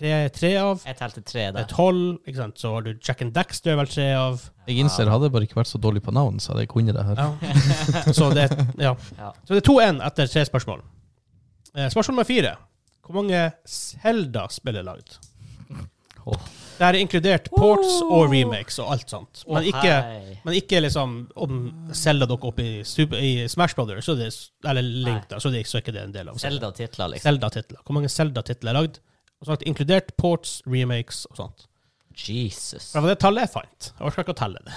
tre, tre av.
Jeg telte tre
Det
der.
er tolv, ikke sant. Så har du Jack and Daxter, vel tre av.
Jeg innser jeg hadde bare ikke vært så dårlig på navn, så hadde jeg kunnet det her.
Ja. Så det, ja.
Ja.
Så det er 2-1 etter tre spørsmål. Eh, Spørsmål nummer fire. Hvor mange Zelda spill er lagd?
Åh.
Det er inkludert ports
Oh.
og remakes og alt sånt.
Å,
Men ikke,
hei.
men ikke liksom om Zelda dukker opp i, Super, i Smash Brothers, så det, eller Link, da, så, det, så er ikke det en del av
Zelda-titler, liksom.
Zelda-titler. Hvor mange Zelda-titler er lagd? Og sagt, inkludert ports, remakes og sånt.
Jesus.
For det var det tallet jeg fant. Jeg orker ikke å telle det.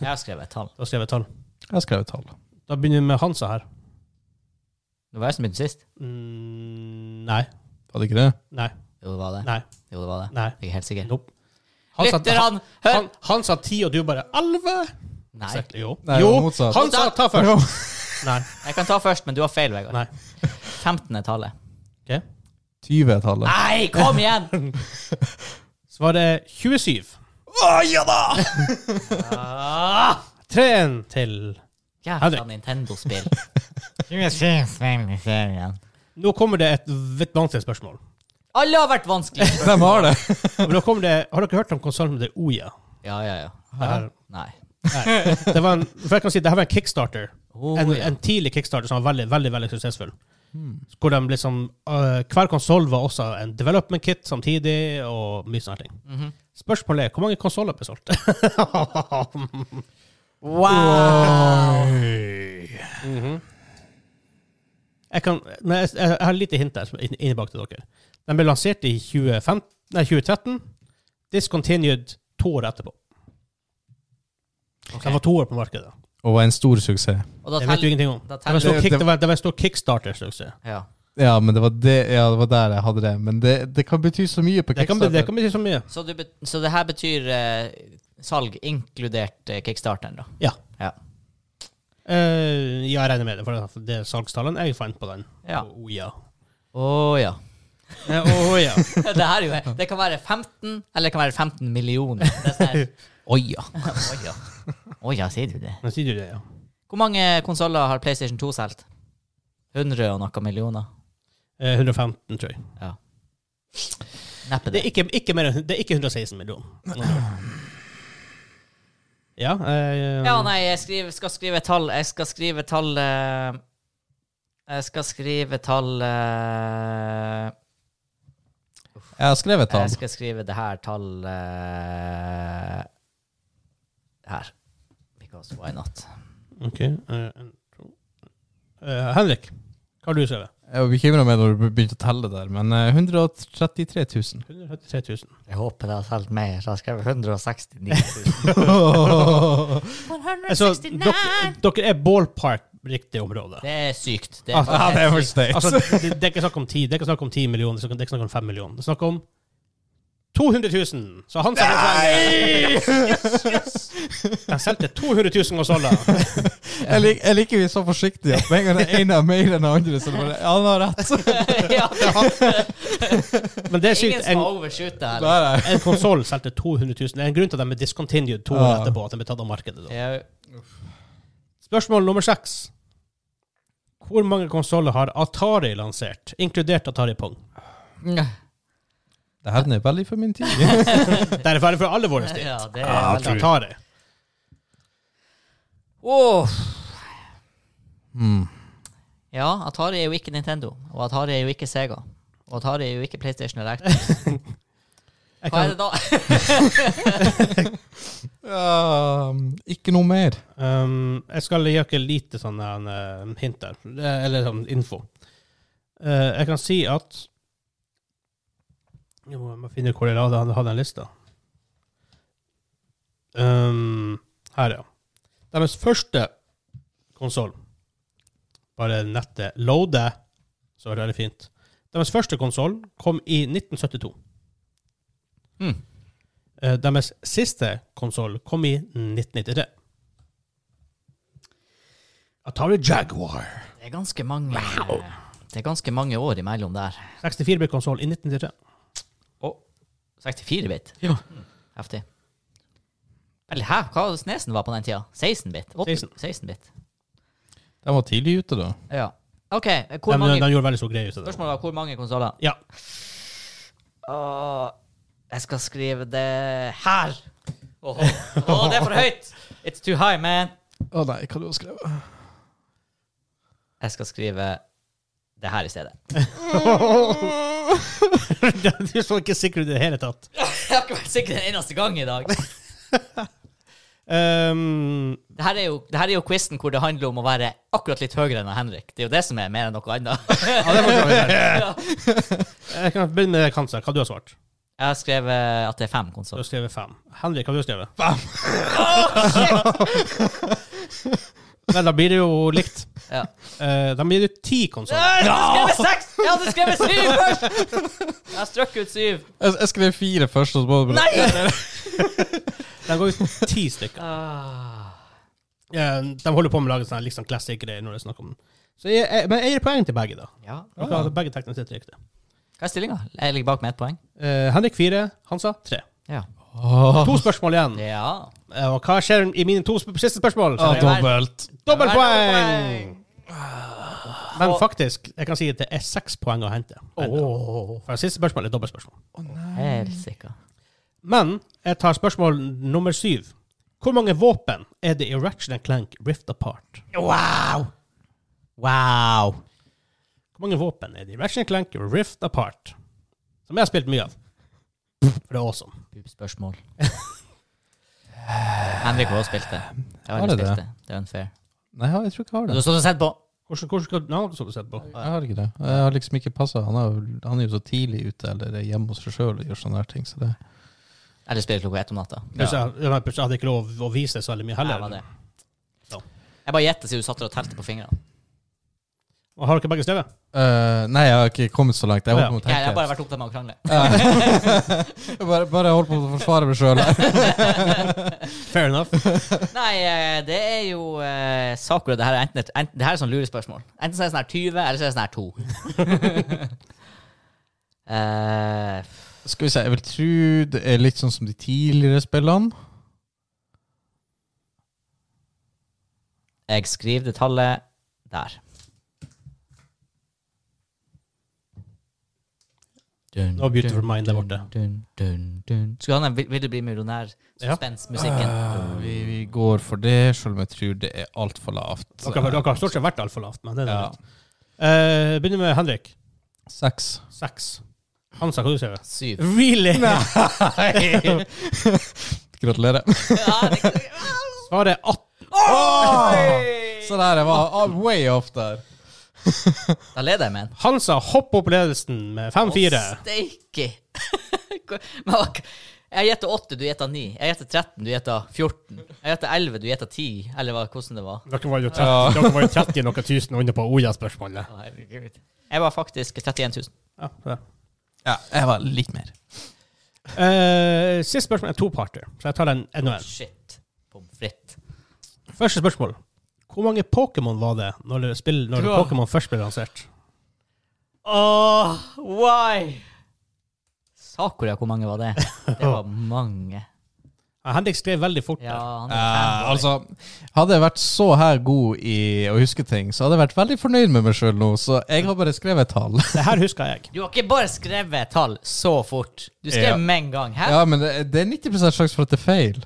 Jeg har skrevet et tall.
Da skrev jeg tall.
Jeg skrev et tall.
Da begynner vi med Hansa her.
Det var jeg som begynte sist.
Mm, nei.
Var det ikke det?
Nei.
Jo, det var det.
Nei.
Jo, det var det.
Nei.
Jeg er helt sikker.
Nope. Han sa,
Lytter
han,
han! Hør!
han, han sa ti, og du bare elleve?
Nei,
Så- Jo.
Nei, det
jo.
var motsatt.
Han sa ta først. Nei.
jeg kan ta først, men du har feil, Vegard.
Nei.
15. tallet.
Ok.
20 er tallet.
Nei, kom igjen!
Svaret er 27.
ja da!
Ah!
3-1 til
Jævla
Henrik.
Nintendo-spill.
Nå kommer det et litt vanskelig spørsmål.
Alle har vært vanskelige.
Hvem har det?
Men nå kommer det, har dere hørt om konsernet med det Oya?
Ja, ja, ja.
Det, her,
Nei.
nei. det var en, for jeg kan si, det her var en kickstarter.
Oh,
En,
ja.
en tidlig kickstarter som var veldig veldig, veldig suksessfull. Hvor de liksom, øh, Hver konsoll var også en development kit samtidig, og mye sånne ting.
Mhm.
Spørsmålet er hvor mange konsoller ble solgt?
Wow! Mhm.
Jeg, kan, men jeg, jeg, jeg har et lite hint der som er inn- inni bak til dere. Den ble lansert i 2015, nei, 2013. Discontinued to år etterpå. Så Den var to år på markedet.
Og var en stor suksess.
Og da
Det vet du
teller
ingenting om.
da
Det var en
teller-
stor, kick,
Det-
det var, det var en stor kickstarter. suksess.
Ja.
Ja, men det var, det, ja, det var der jeg hadde det. Men det, det kan bety så mye på
Det kan, bli-
Kickstarter.
det kan bety så mye.
Så, du, bet- så det her betyr eh, salg inkludert eh, kickstarteren, da?
Ja.
Ja.
Eh, ja, jeg regner med det, for det er salgstallene jeg fant på den.
Ja.
Å ja.
Å ja. oh,
Eh, å, ja.
Det, her er jo, det kan være 15, eller det kan være 15 millioner. Det er sånn her-
Oi, ja.
Å ja. Å ja, sier du det?
Men sier du det, ja.
Hvor mange konsoller har PlayStation 2 solgt? 100 og noe millioner?
Eh, 115, tror jeg.
Ja. Neppe
Det
det.
er ikke, ikke, mer, enn- det er ikke 116 millioner. Ja, eh,
Ja, nei, jeg skriver, skal skrive tall. Jeg skal skrive tall eh, Jeg skal skrive tall eh,
Jeg har skrevet et
Jeg
tall.
skal skrive det her tallet her. Because why not?
Ok. eh, en, to. Eh, Henrik, hva har du skrevet?
Jeg var bekymra meg når du begynte å telle der, men eh, 133 000.
173 000.
Jeg håper det har solgt mer. Jeg har skrevet 169 000.
Altså, dere, dere er ballpark riktig område.
Det er sykt. Ah, Det er,
Altså,
faktisk
for
sykt.
steik.
Altså, det, det er ikke snakk om 10, det er ikke snakk om 10 millioner, det er ikke- det er ikke snakk om 5 millioner. Det er snakk om 200 000! Så han selger De solgte 200 000 konsoller.
Jeg, lik, jeg liker vi er så forsiktige at med en gang den ene har mer enn den andre, så er det bare Ja, han har rett.
ja, det har,
Men det er
ingen
sykt.
som
En,
har overshoot det her.
Der er jeg.
en konsoll solgte 200 000. Det er en grunn til at de er discontinued to år
Ah.
etterpå. At de ble tatt av markedet. Da.
Jeg-
Spørsmål nummer seks. Hvor mange konsoller har Atari lansert, inkludert Atari Pong?
Det her er veldig for min tid.
Det er ferdig for alle våre stil.
Ja, det er
Ah,
veldig
Atari.
Åh.
Mm.
Ja, Atari er jo ikke Nintendo, og Atari er jo ikke Sega. Og Atari er jo ikke PlayStation eller Actor.
Jeg
Hva
kan,
er det da?
Ja, Um, ikke noe mer.
Ehm, jeg skal gi dere lite sånne eh, hint der, Eh, eller sånn info. Eh, jeg kan si at Jeg må, jeg må finne ut hvor jeg la det, han hadde den lista. Ehm, her, ja. Deres første konsoll Bare nettet loader, så er det veldig fint. Deres første konsoll kom i 1972.
Hmm.
Eh, deres siste konsoll kom i 1993. Atari Jaguar.
Det er ganske mange eh, Det er ganske mange år imellom der.
64-bit-konsoll i 1993.
64-bit.
Ja.
Heftig. Eller hæ? Hva var det Snesen var på den tida? 16-bit?
16.
16-bit.
De var tidlig ute, da.
Ja. OK,
De,
hvor mange,
de gjorde veldig stor greie ut av det.
spørsmålet var hvor mange konsoller?
Ja.
Åh, jeg skal skrive det her. Åh, åh, det er for høyt! It's too high, man.
Å nei, hva du har skrevet?
Jeg skal skrive det her i stedet.
du så ikke sikker ut i det hele tatt.
Jeg har ikke vært sikker en eneste gang i dag.
Ehm,
Det her er jo, det her er jo quizen hvor det handler om å være akkurat litt høyere enn Henrik. Det er jo det som er mer enn noe annet.
ja, det var bra, Jørgen. Jeg kan begynne med Kansa. Hva du har svart?
Jeg har skrevet at det er fem
Du har
konsoller.
skrevet fem. Henrik, hva du har skrevet? Vel, da blir det jo likt.
Ja.
Eh, da blir det ti konsoller.
Jeg hadde skrevet seks! Jeg hadde skrevet syv først! Jeg har strøkk ut syv.
Jeg, jeg skrev fire først, og så bare
Nei!
De går ut ti stykker.
Ah.
Eh, de holder på med å lage sånne liksom classic-greier når det er snakk om den. Så jeg, jeg, men jeg gir poeng til begge, da.
Ja.
Dere hadde begge teknisk sett riktig.
Hva er stillinga? Jeg ligger bak med ett poeng.
Eh, Henrik fire, Hansa tre.
Ja.
To spørsmål igjen.
Ah. ja. Ah,
Eh, Og hva skjer i mine to sp siste spørsmål?
Ja,
Dobbelt
dobbelt.
Dobbeltpoeng! Men faktisk, jeg kan si at det er seks poeng å hente. For siste spørsmål er dobbeltspørsmål.
Helsike.
Men jeg tar spørsmål nummer syv. Hvor mange våpen er det i Ratchet Clank Rift Apart?
Wow! Wow.
Hvor mange våpen er det i Ratchet Clank Rift Apart? Som jeg har spilt mye av. For det er awesome.
Spørsmål. Henrik har også spilt det. Jeg har
Har
aldri
det
spilt
det?
det. Det er unfair.
Nei, jeg tror ikke jeg har
Du
det.
har stått og sett på.
Hvordan, hvordan skal du ha noe sånt sett på?
Jeg har ikke det. Jeg har liksom ikke passa. Han, er jo- han er jo så tidlig ute eller er hjemme hos seg sjøl og gjør sånne her ting. Så det
Eller spiller klokka ett om natta.
Plutselig jeg, plutselig hadde jeg ikke lov å vise det så veldig mye
Nei, det
heller.
var det.
Så.
Jeg bare gjetter siden du satt der og telte på fingrene.
Og har dere begge skrevet?
Eh, Nei, jeg har ikke kommet så langt. Jeg holder på med å
Jeg, jeg har
tenke.
bare vært opptatt med å krangle.
Jeg bare, bare holder på å forsvare meg sjøl.
Fair enough.
Nei, eh, det er jo eh, Sakura. Det her er enten, et- enten, det her er sånn lurespørsmål. Enten så er det sånn her 20, eller så er det sånn her 2. Eh,
Skal vi se, jeg vil tro det er litt sånn som de tidligere spillene.
jeg skriver det tallet der. Dun,
No beautiful mind der borte.
Dun, dun, dun. Skulle han ha Vil vil du bli millionær?
Ja. Ah.
Suspensmusikken.
Vi, vi går for det, sjøl om jeg tror det er altfor lavt.
Dere, dere har stort sett vært altfor lavt, men det er
Ja.
greit. Eh, begynner med Henrik.
Seks.
Seks. Hansa, hva du sier du?
Syv.
Really?
Gratulerer.
Ja, det-
Svaret er 18.
Så der, jeg var ah, way off der.
Da leder jeg med en.
Hansa hopper opp ledelsen med 5-4.
Å, Steike! Men hva- Jeg gjetta åtte, du gjetta ni. Jeg gjetta 13, du gjetta 14. Jeg gjetta 11, du gjetta 10. Eller hva, hvordan det var.
Dere var jo 30,
Ja.
dere var jo 30 noen tusen under på Oja-spørsmålet.
Å, herregud. Jeg var faktisk 31 000.
Ja, det.
Ja, jeg var litt mer.
Eh, siste spørsmål er to-parter, så jeg tar den enda en.
Shit. Pommes frites.
Første spørsmål. Hvor mange Pokémon var det når, det spill, når
Ja.
Pokémon først ble lansert?
Åh, why? Sakura, hvor mange var det? Det var mange.
Ja, Henrik skrev veldig fort.
Ja,
der.
han er
Eh,
fanboy.
altså, hadde jeg vært så her god i å huske ting, så hadde jeg vært veldig fornøyd med meg sjøl nå, så jeg har bare skrevet et tall.
Det her husker jeg.
Du har ikke bare skrevet tall så fort. Du skrev
Ja.
med en gang. Hæ? Ja,
Ja, men det, det er 90 sjanse for at det er feil.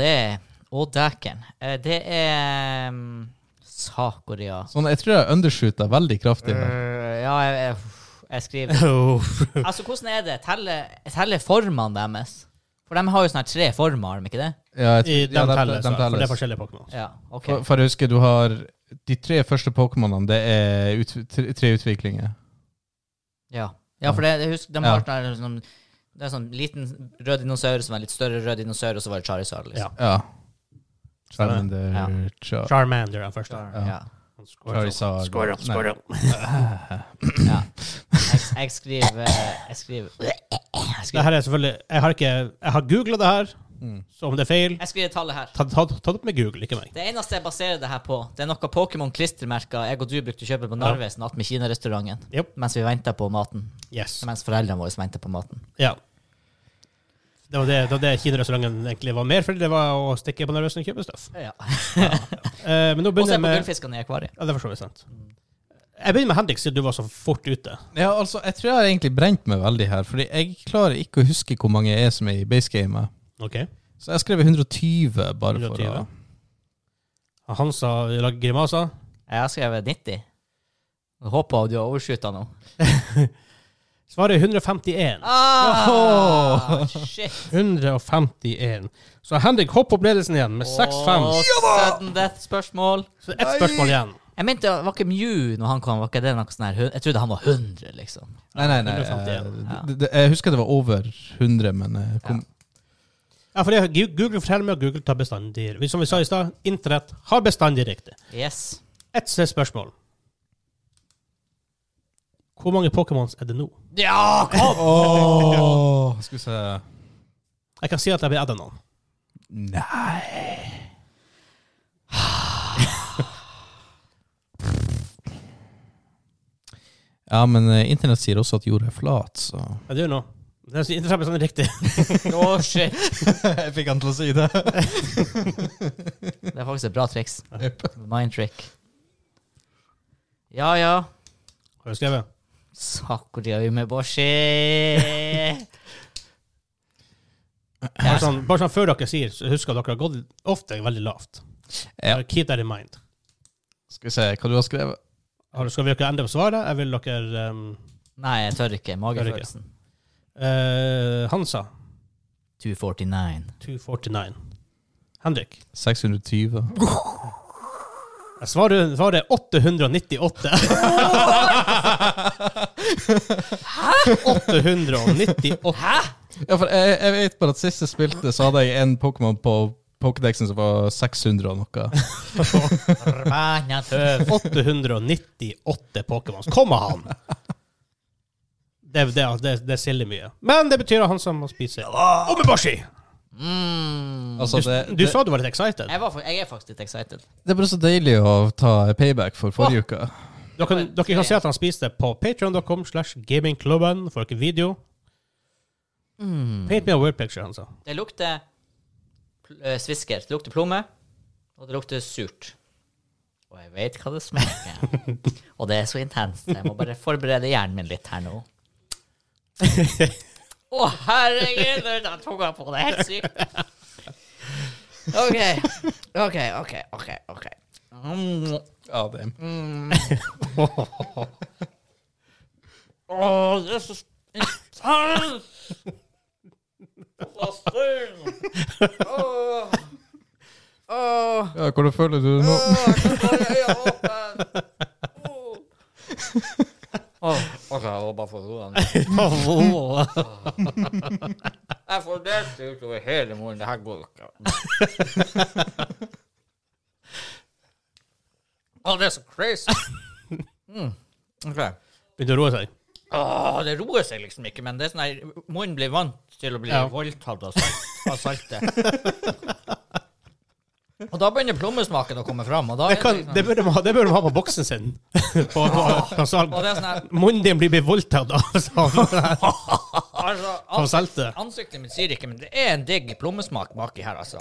det er Å, dæken. Eh, Det er mm, Sakoria.
Sånn, jeg tror jeg undershooter veldig kraftig.
Eh,
her.
Øh, ja, jeg, jeg, jeg skriver Altså, hvordan er det? Teller teller formene deres? For de har jo sånne her tre former, har de ikke det?
Ja, jeg tror-
I
ja,
dem telles, altså,
dem
for det
telles.
er forskjellige Pokémon.
Ja, ok.
For, for jeg husker du har de tre første Pokémonene, det er ut, tre, tre utviklinger.
Ja, ja for det, jeg husker, de
Ja.
har sånn her, sånn, det er sånn liten rød dinosaur som er litt større rød dinosaur, og så var det Charizard, liksom.
Ja.
Ja. Charmander,
Ja.
Char
Charmander er den første.
Ja. Ja.
Charizard Nei.
Jeg, jeg skriver eh, Jeg skriver Jeg
Det
skriver,
her er selvfølgelig Jeg har ikke Jeg har googla det her,
Mm.
så om det er feil
jeg skriver tallet her.
Ta, ta, ta det opp med Google, ikke meg.
Det eneste jeg baserer det her på, det er noe Pokémon-klistremerker jeg og du brukte å kjøpe på Narvesen attmed Kina-restauranten
Jep.
mens vi venta på maten.
Yes.
Mens foreldrene våre venta på maten.
Ja. Det var det, det, var det Kina-restauranten egentlig var mer for, det var å stikke på nervøsen og kjøpe stuff.
Ja.
Eh, men nå
Og
begynner
se
jeg
på
med
gullfiskene i akvariet.
Ja, det forstår vi sant. Jeg begynner med Henrik, siden du var så fort ute.
Ja, altså, jeg tror jeg har egentlig brent meg veldig her, fordi jeg klarer ikke å huske hvor mange jeg er som er i basegamet.
Ok.
Så jeg skrev 120 bare for
120.
å
Han sa lage grimaser.
Jeg har skrevet 90. Jeg håper du har overskytta nå.
Svaret er 151.
Ah, shit.
151. Så Henrik hopper opp ledelsen igjen med 6-5.
Og sudden death-spørsmål.
Så ett spørsmål igjen.
Jeg mente, det var ikke Mew når han kom? Var ikke det noe sånn her? hun- Jeg trodde han var 100, liksom.
Nei, nei, nei.
151,
eh,
ja.
det- det- Jeg husker det var over 100, men eh, kom,
Ja, for det, Google forteller meg at Google tar bestandig Som vi sa i stad, internett har bestandig riktig.
Yes.
Ett siste spørsmål. Hvor mange Pokémons er det nå?
Ja, kom!
Åh, Skal vi se
Jeg kan si at jeg blir adda noen.
Nei Ja, men eh, internett sier også at jorda er flat, så
Er det jo noe? Det er så internett er bestandig riktig.
Å, shit.
Jeg fikk han til å si det.
Det er faktisk et bra triks. Mind trick. Ja, ja.
Har du skrevet?
Sakura Umeboshi.
Bare sånn, bare sånn før dere sier, så husk at dere har gått ofte veldig lavt.
Ja.
Bare Keep that in mind.
Skal vi se hva du har skrevet.
Har, skal vi dere endre på svaret? Jeg vil dere ehm,
Nei, jeg tør ikke. Magefølelsen.
eh, Hansa,
249.
249. Henrik.
620.
Jeg svarer, svarer 898. Hæ? 898. Hæ?
Ja, for jeg, jeg vet bare at sist jeg spilte, så hadde jeg en Pokémon på Pokédexen som var 600 og noe.
Forbanna tøv.
898 Pokémons. Kommer han? Det, det, det, det siller mye. Men det betyr at han som må spise Omebashi!
Mm.
Altså,
Du,
det,
du
det,
sa du var litt excited.
Jeg, var, fa- jeg er faktisk litt excited.
det er bare så deilig å ta payback for forrige uke.
Dere, kan- dere kan se at han spiste på patreon.com slash gamingklubben. Får dere video? Paint me a word picture, han sa.
Det lukter pl- eh, svisker. Det lukter plomme, og det lukter surt. Og jeg vet hva det smaker. og det er så intenst. Jeg må bare forberede hjernen min litt her nå. Å, herregud! Da tok jeg på det. Helt sykt. OK, OK, OK. ok, ok. Mm.
Ja, det.
Åh, det er så intenst! Så surt! Åh. Åh.
Ja, hvordan føler du det nå?
Oh, Ok, jeg må bare få roe ned. Jeg får dette utover hele morgenen. Det her går ikke. Å, det er så crazy. Mm. Ok.
Begynte å roe seg.
Åh, det roer seg liksom ikke, men det er sånn her, munnen blir vant til å bli
Ja.
voldtatt av, salt, av saltet. og da begynner plommesmaken å komme fram, og da
Det,
er det
kan,
liksom,
det, bør de ha, det bør de ha på boksen sin. på, på, altså, på salg.
og det er sånn her,
Munnen din blir bevoldtatt av, sånn. av,
altså,
av
ansikt,
saltet.
ansiktet mitt sier ikke, men det er en digg plommesmak baki her, altså.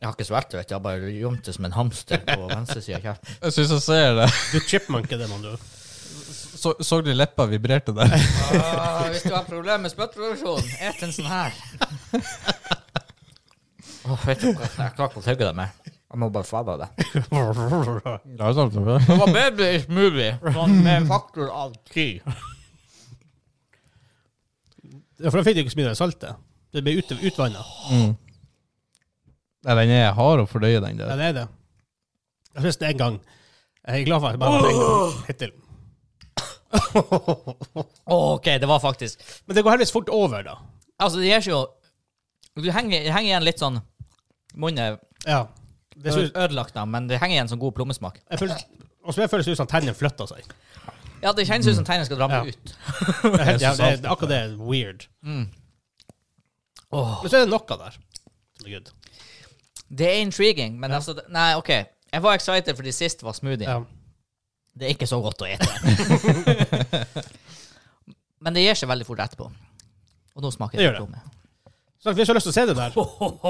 Jeg har ikke svært, vet du, jeg har bare gjemt det som en hamster på venstre siden av kjeften.
Jeg syns jeg ser det.
Du chipmunker det, mann. du.
Så, så du leppa vibrerte der?
Ah, hvis du har problemer med spyttproduksjon, et en sånn her. Åh, vet du hva, jeg klarer ikke å tygge det mer. Jeg må bare svelge det.
altså.
Det var baby is movie. Sånn med faktor av ti.
Ja, For da fikk du ikke så mye av det saltet. Det ble ut, utvanna.
Nei, den er hard å fordøye, den
Ja,
der.
det er det. Jeg spiste én gang. Jeg er glad for at jeg bare har en gang hittil.
Ok, det var faktisk
Men det går heldigvis fort over, da.
Altså, det gjør seg jo Du henger, det henger igjen litt sånn Munnen er
Ja. Det
ø-
synes,
ødelagt, da, men det henger igjen sånn god plommesmak.
jeg føler, og så føles det ut som tennene flytter seg.
Ja, det kjennes ut som tennene skal ramle
Ja.
ut.
Det er, helt, ja, det er akkurat det er weird.
Åh.
Men så er det noe der. som er good.
Det er intriguing, men altså det- Nei, OK. Jeg var excited fordi sist var smoothie.
Ja.
Det er ikke så godt å ete. Men det gir seg veldig fort etterpå. Og nå smaker
Det
det
gjør det.
plomme.
Så hvis du har lyst til å se det der,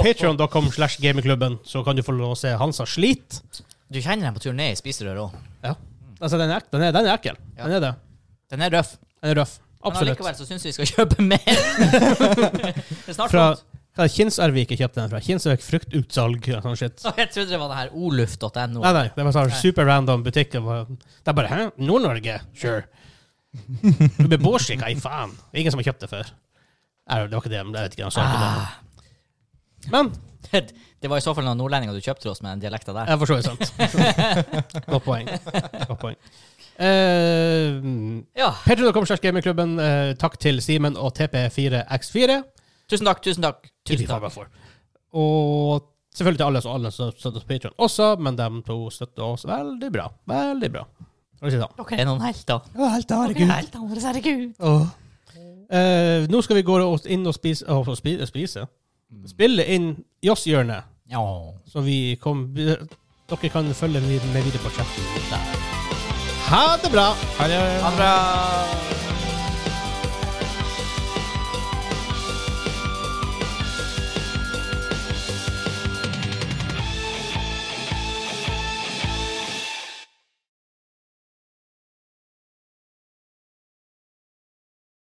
patreon.com slash gamingklubben, så kan du få lov å se Hansa slit.
Du kjenner den på tur ned i spiserøret òg.
Altså, den er, ek- den er, den er ekkel.
Ja.
Den er det.
Den er røff.
Den er røff.
Men
Absolutt.
allikevel så syns vi skal kjøpe mer. det er snart sånn.
Fra
slutt.
hva er det, Kinsarvik jeg kjøpte den fra. Kinsarvik fruktutsalg og sånn shit.
Å, Jeg trodde det var det her oluft.no.
Nei, nei, det var sånn
Nei.
super random butikk. Det var- det er bare Hæ? Nord-Norge? Sure. Du blir Borsi, hva i faen? Det er ingen som har kjøpt det før. Nei, det var ikke det, men jeg vet ikke. Han sa ikke det.
Ah,
Men
det det var i så fall noen nordlendinger du kjøpte til oss med den dialekta der.
jeg forstår det sant. Godt poeng. Godt poeng. Eh,
Ja.
Patreon.com slash gamingklubben. Eh, takk til Simen og TP4X4.
Tusen takk, tusen takk. Tusen
If I
takk.
were for. Og selvfølgelig til alle og alle som støtter oss på Patreon også, men de to støtter oss veldig bra. Veldig bra. Skal vi si sånn.
Dere er noen helter. Dere er
Herregud.
helter, våre herregud.
Eh, nå skal vi gå og- inn og spise, og så spise, spise. Spille inn Joss-hjørnet,
Ja.
så vi kom, dere kan følge med med videre på chatten der. Ha det bra!
Ha det.
Ha det bra.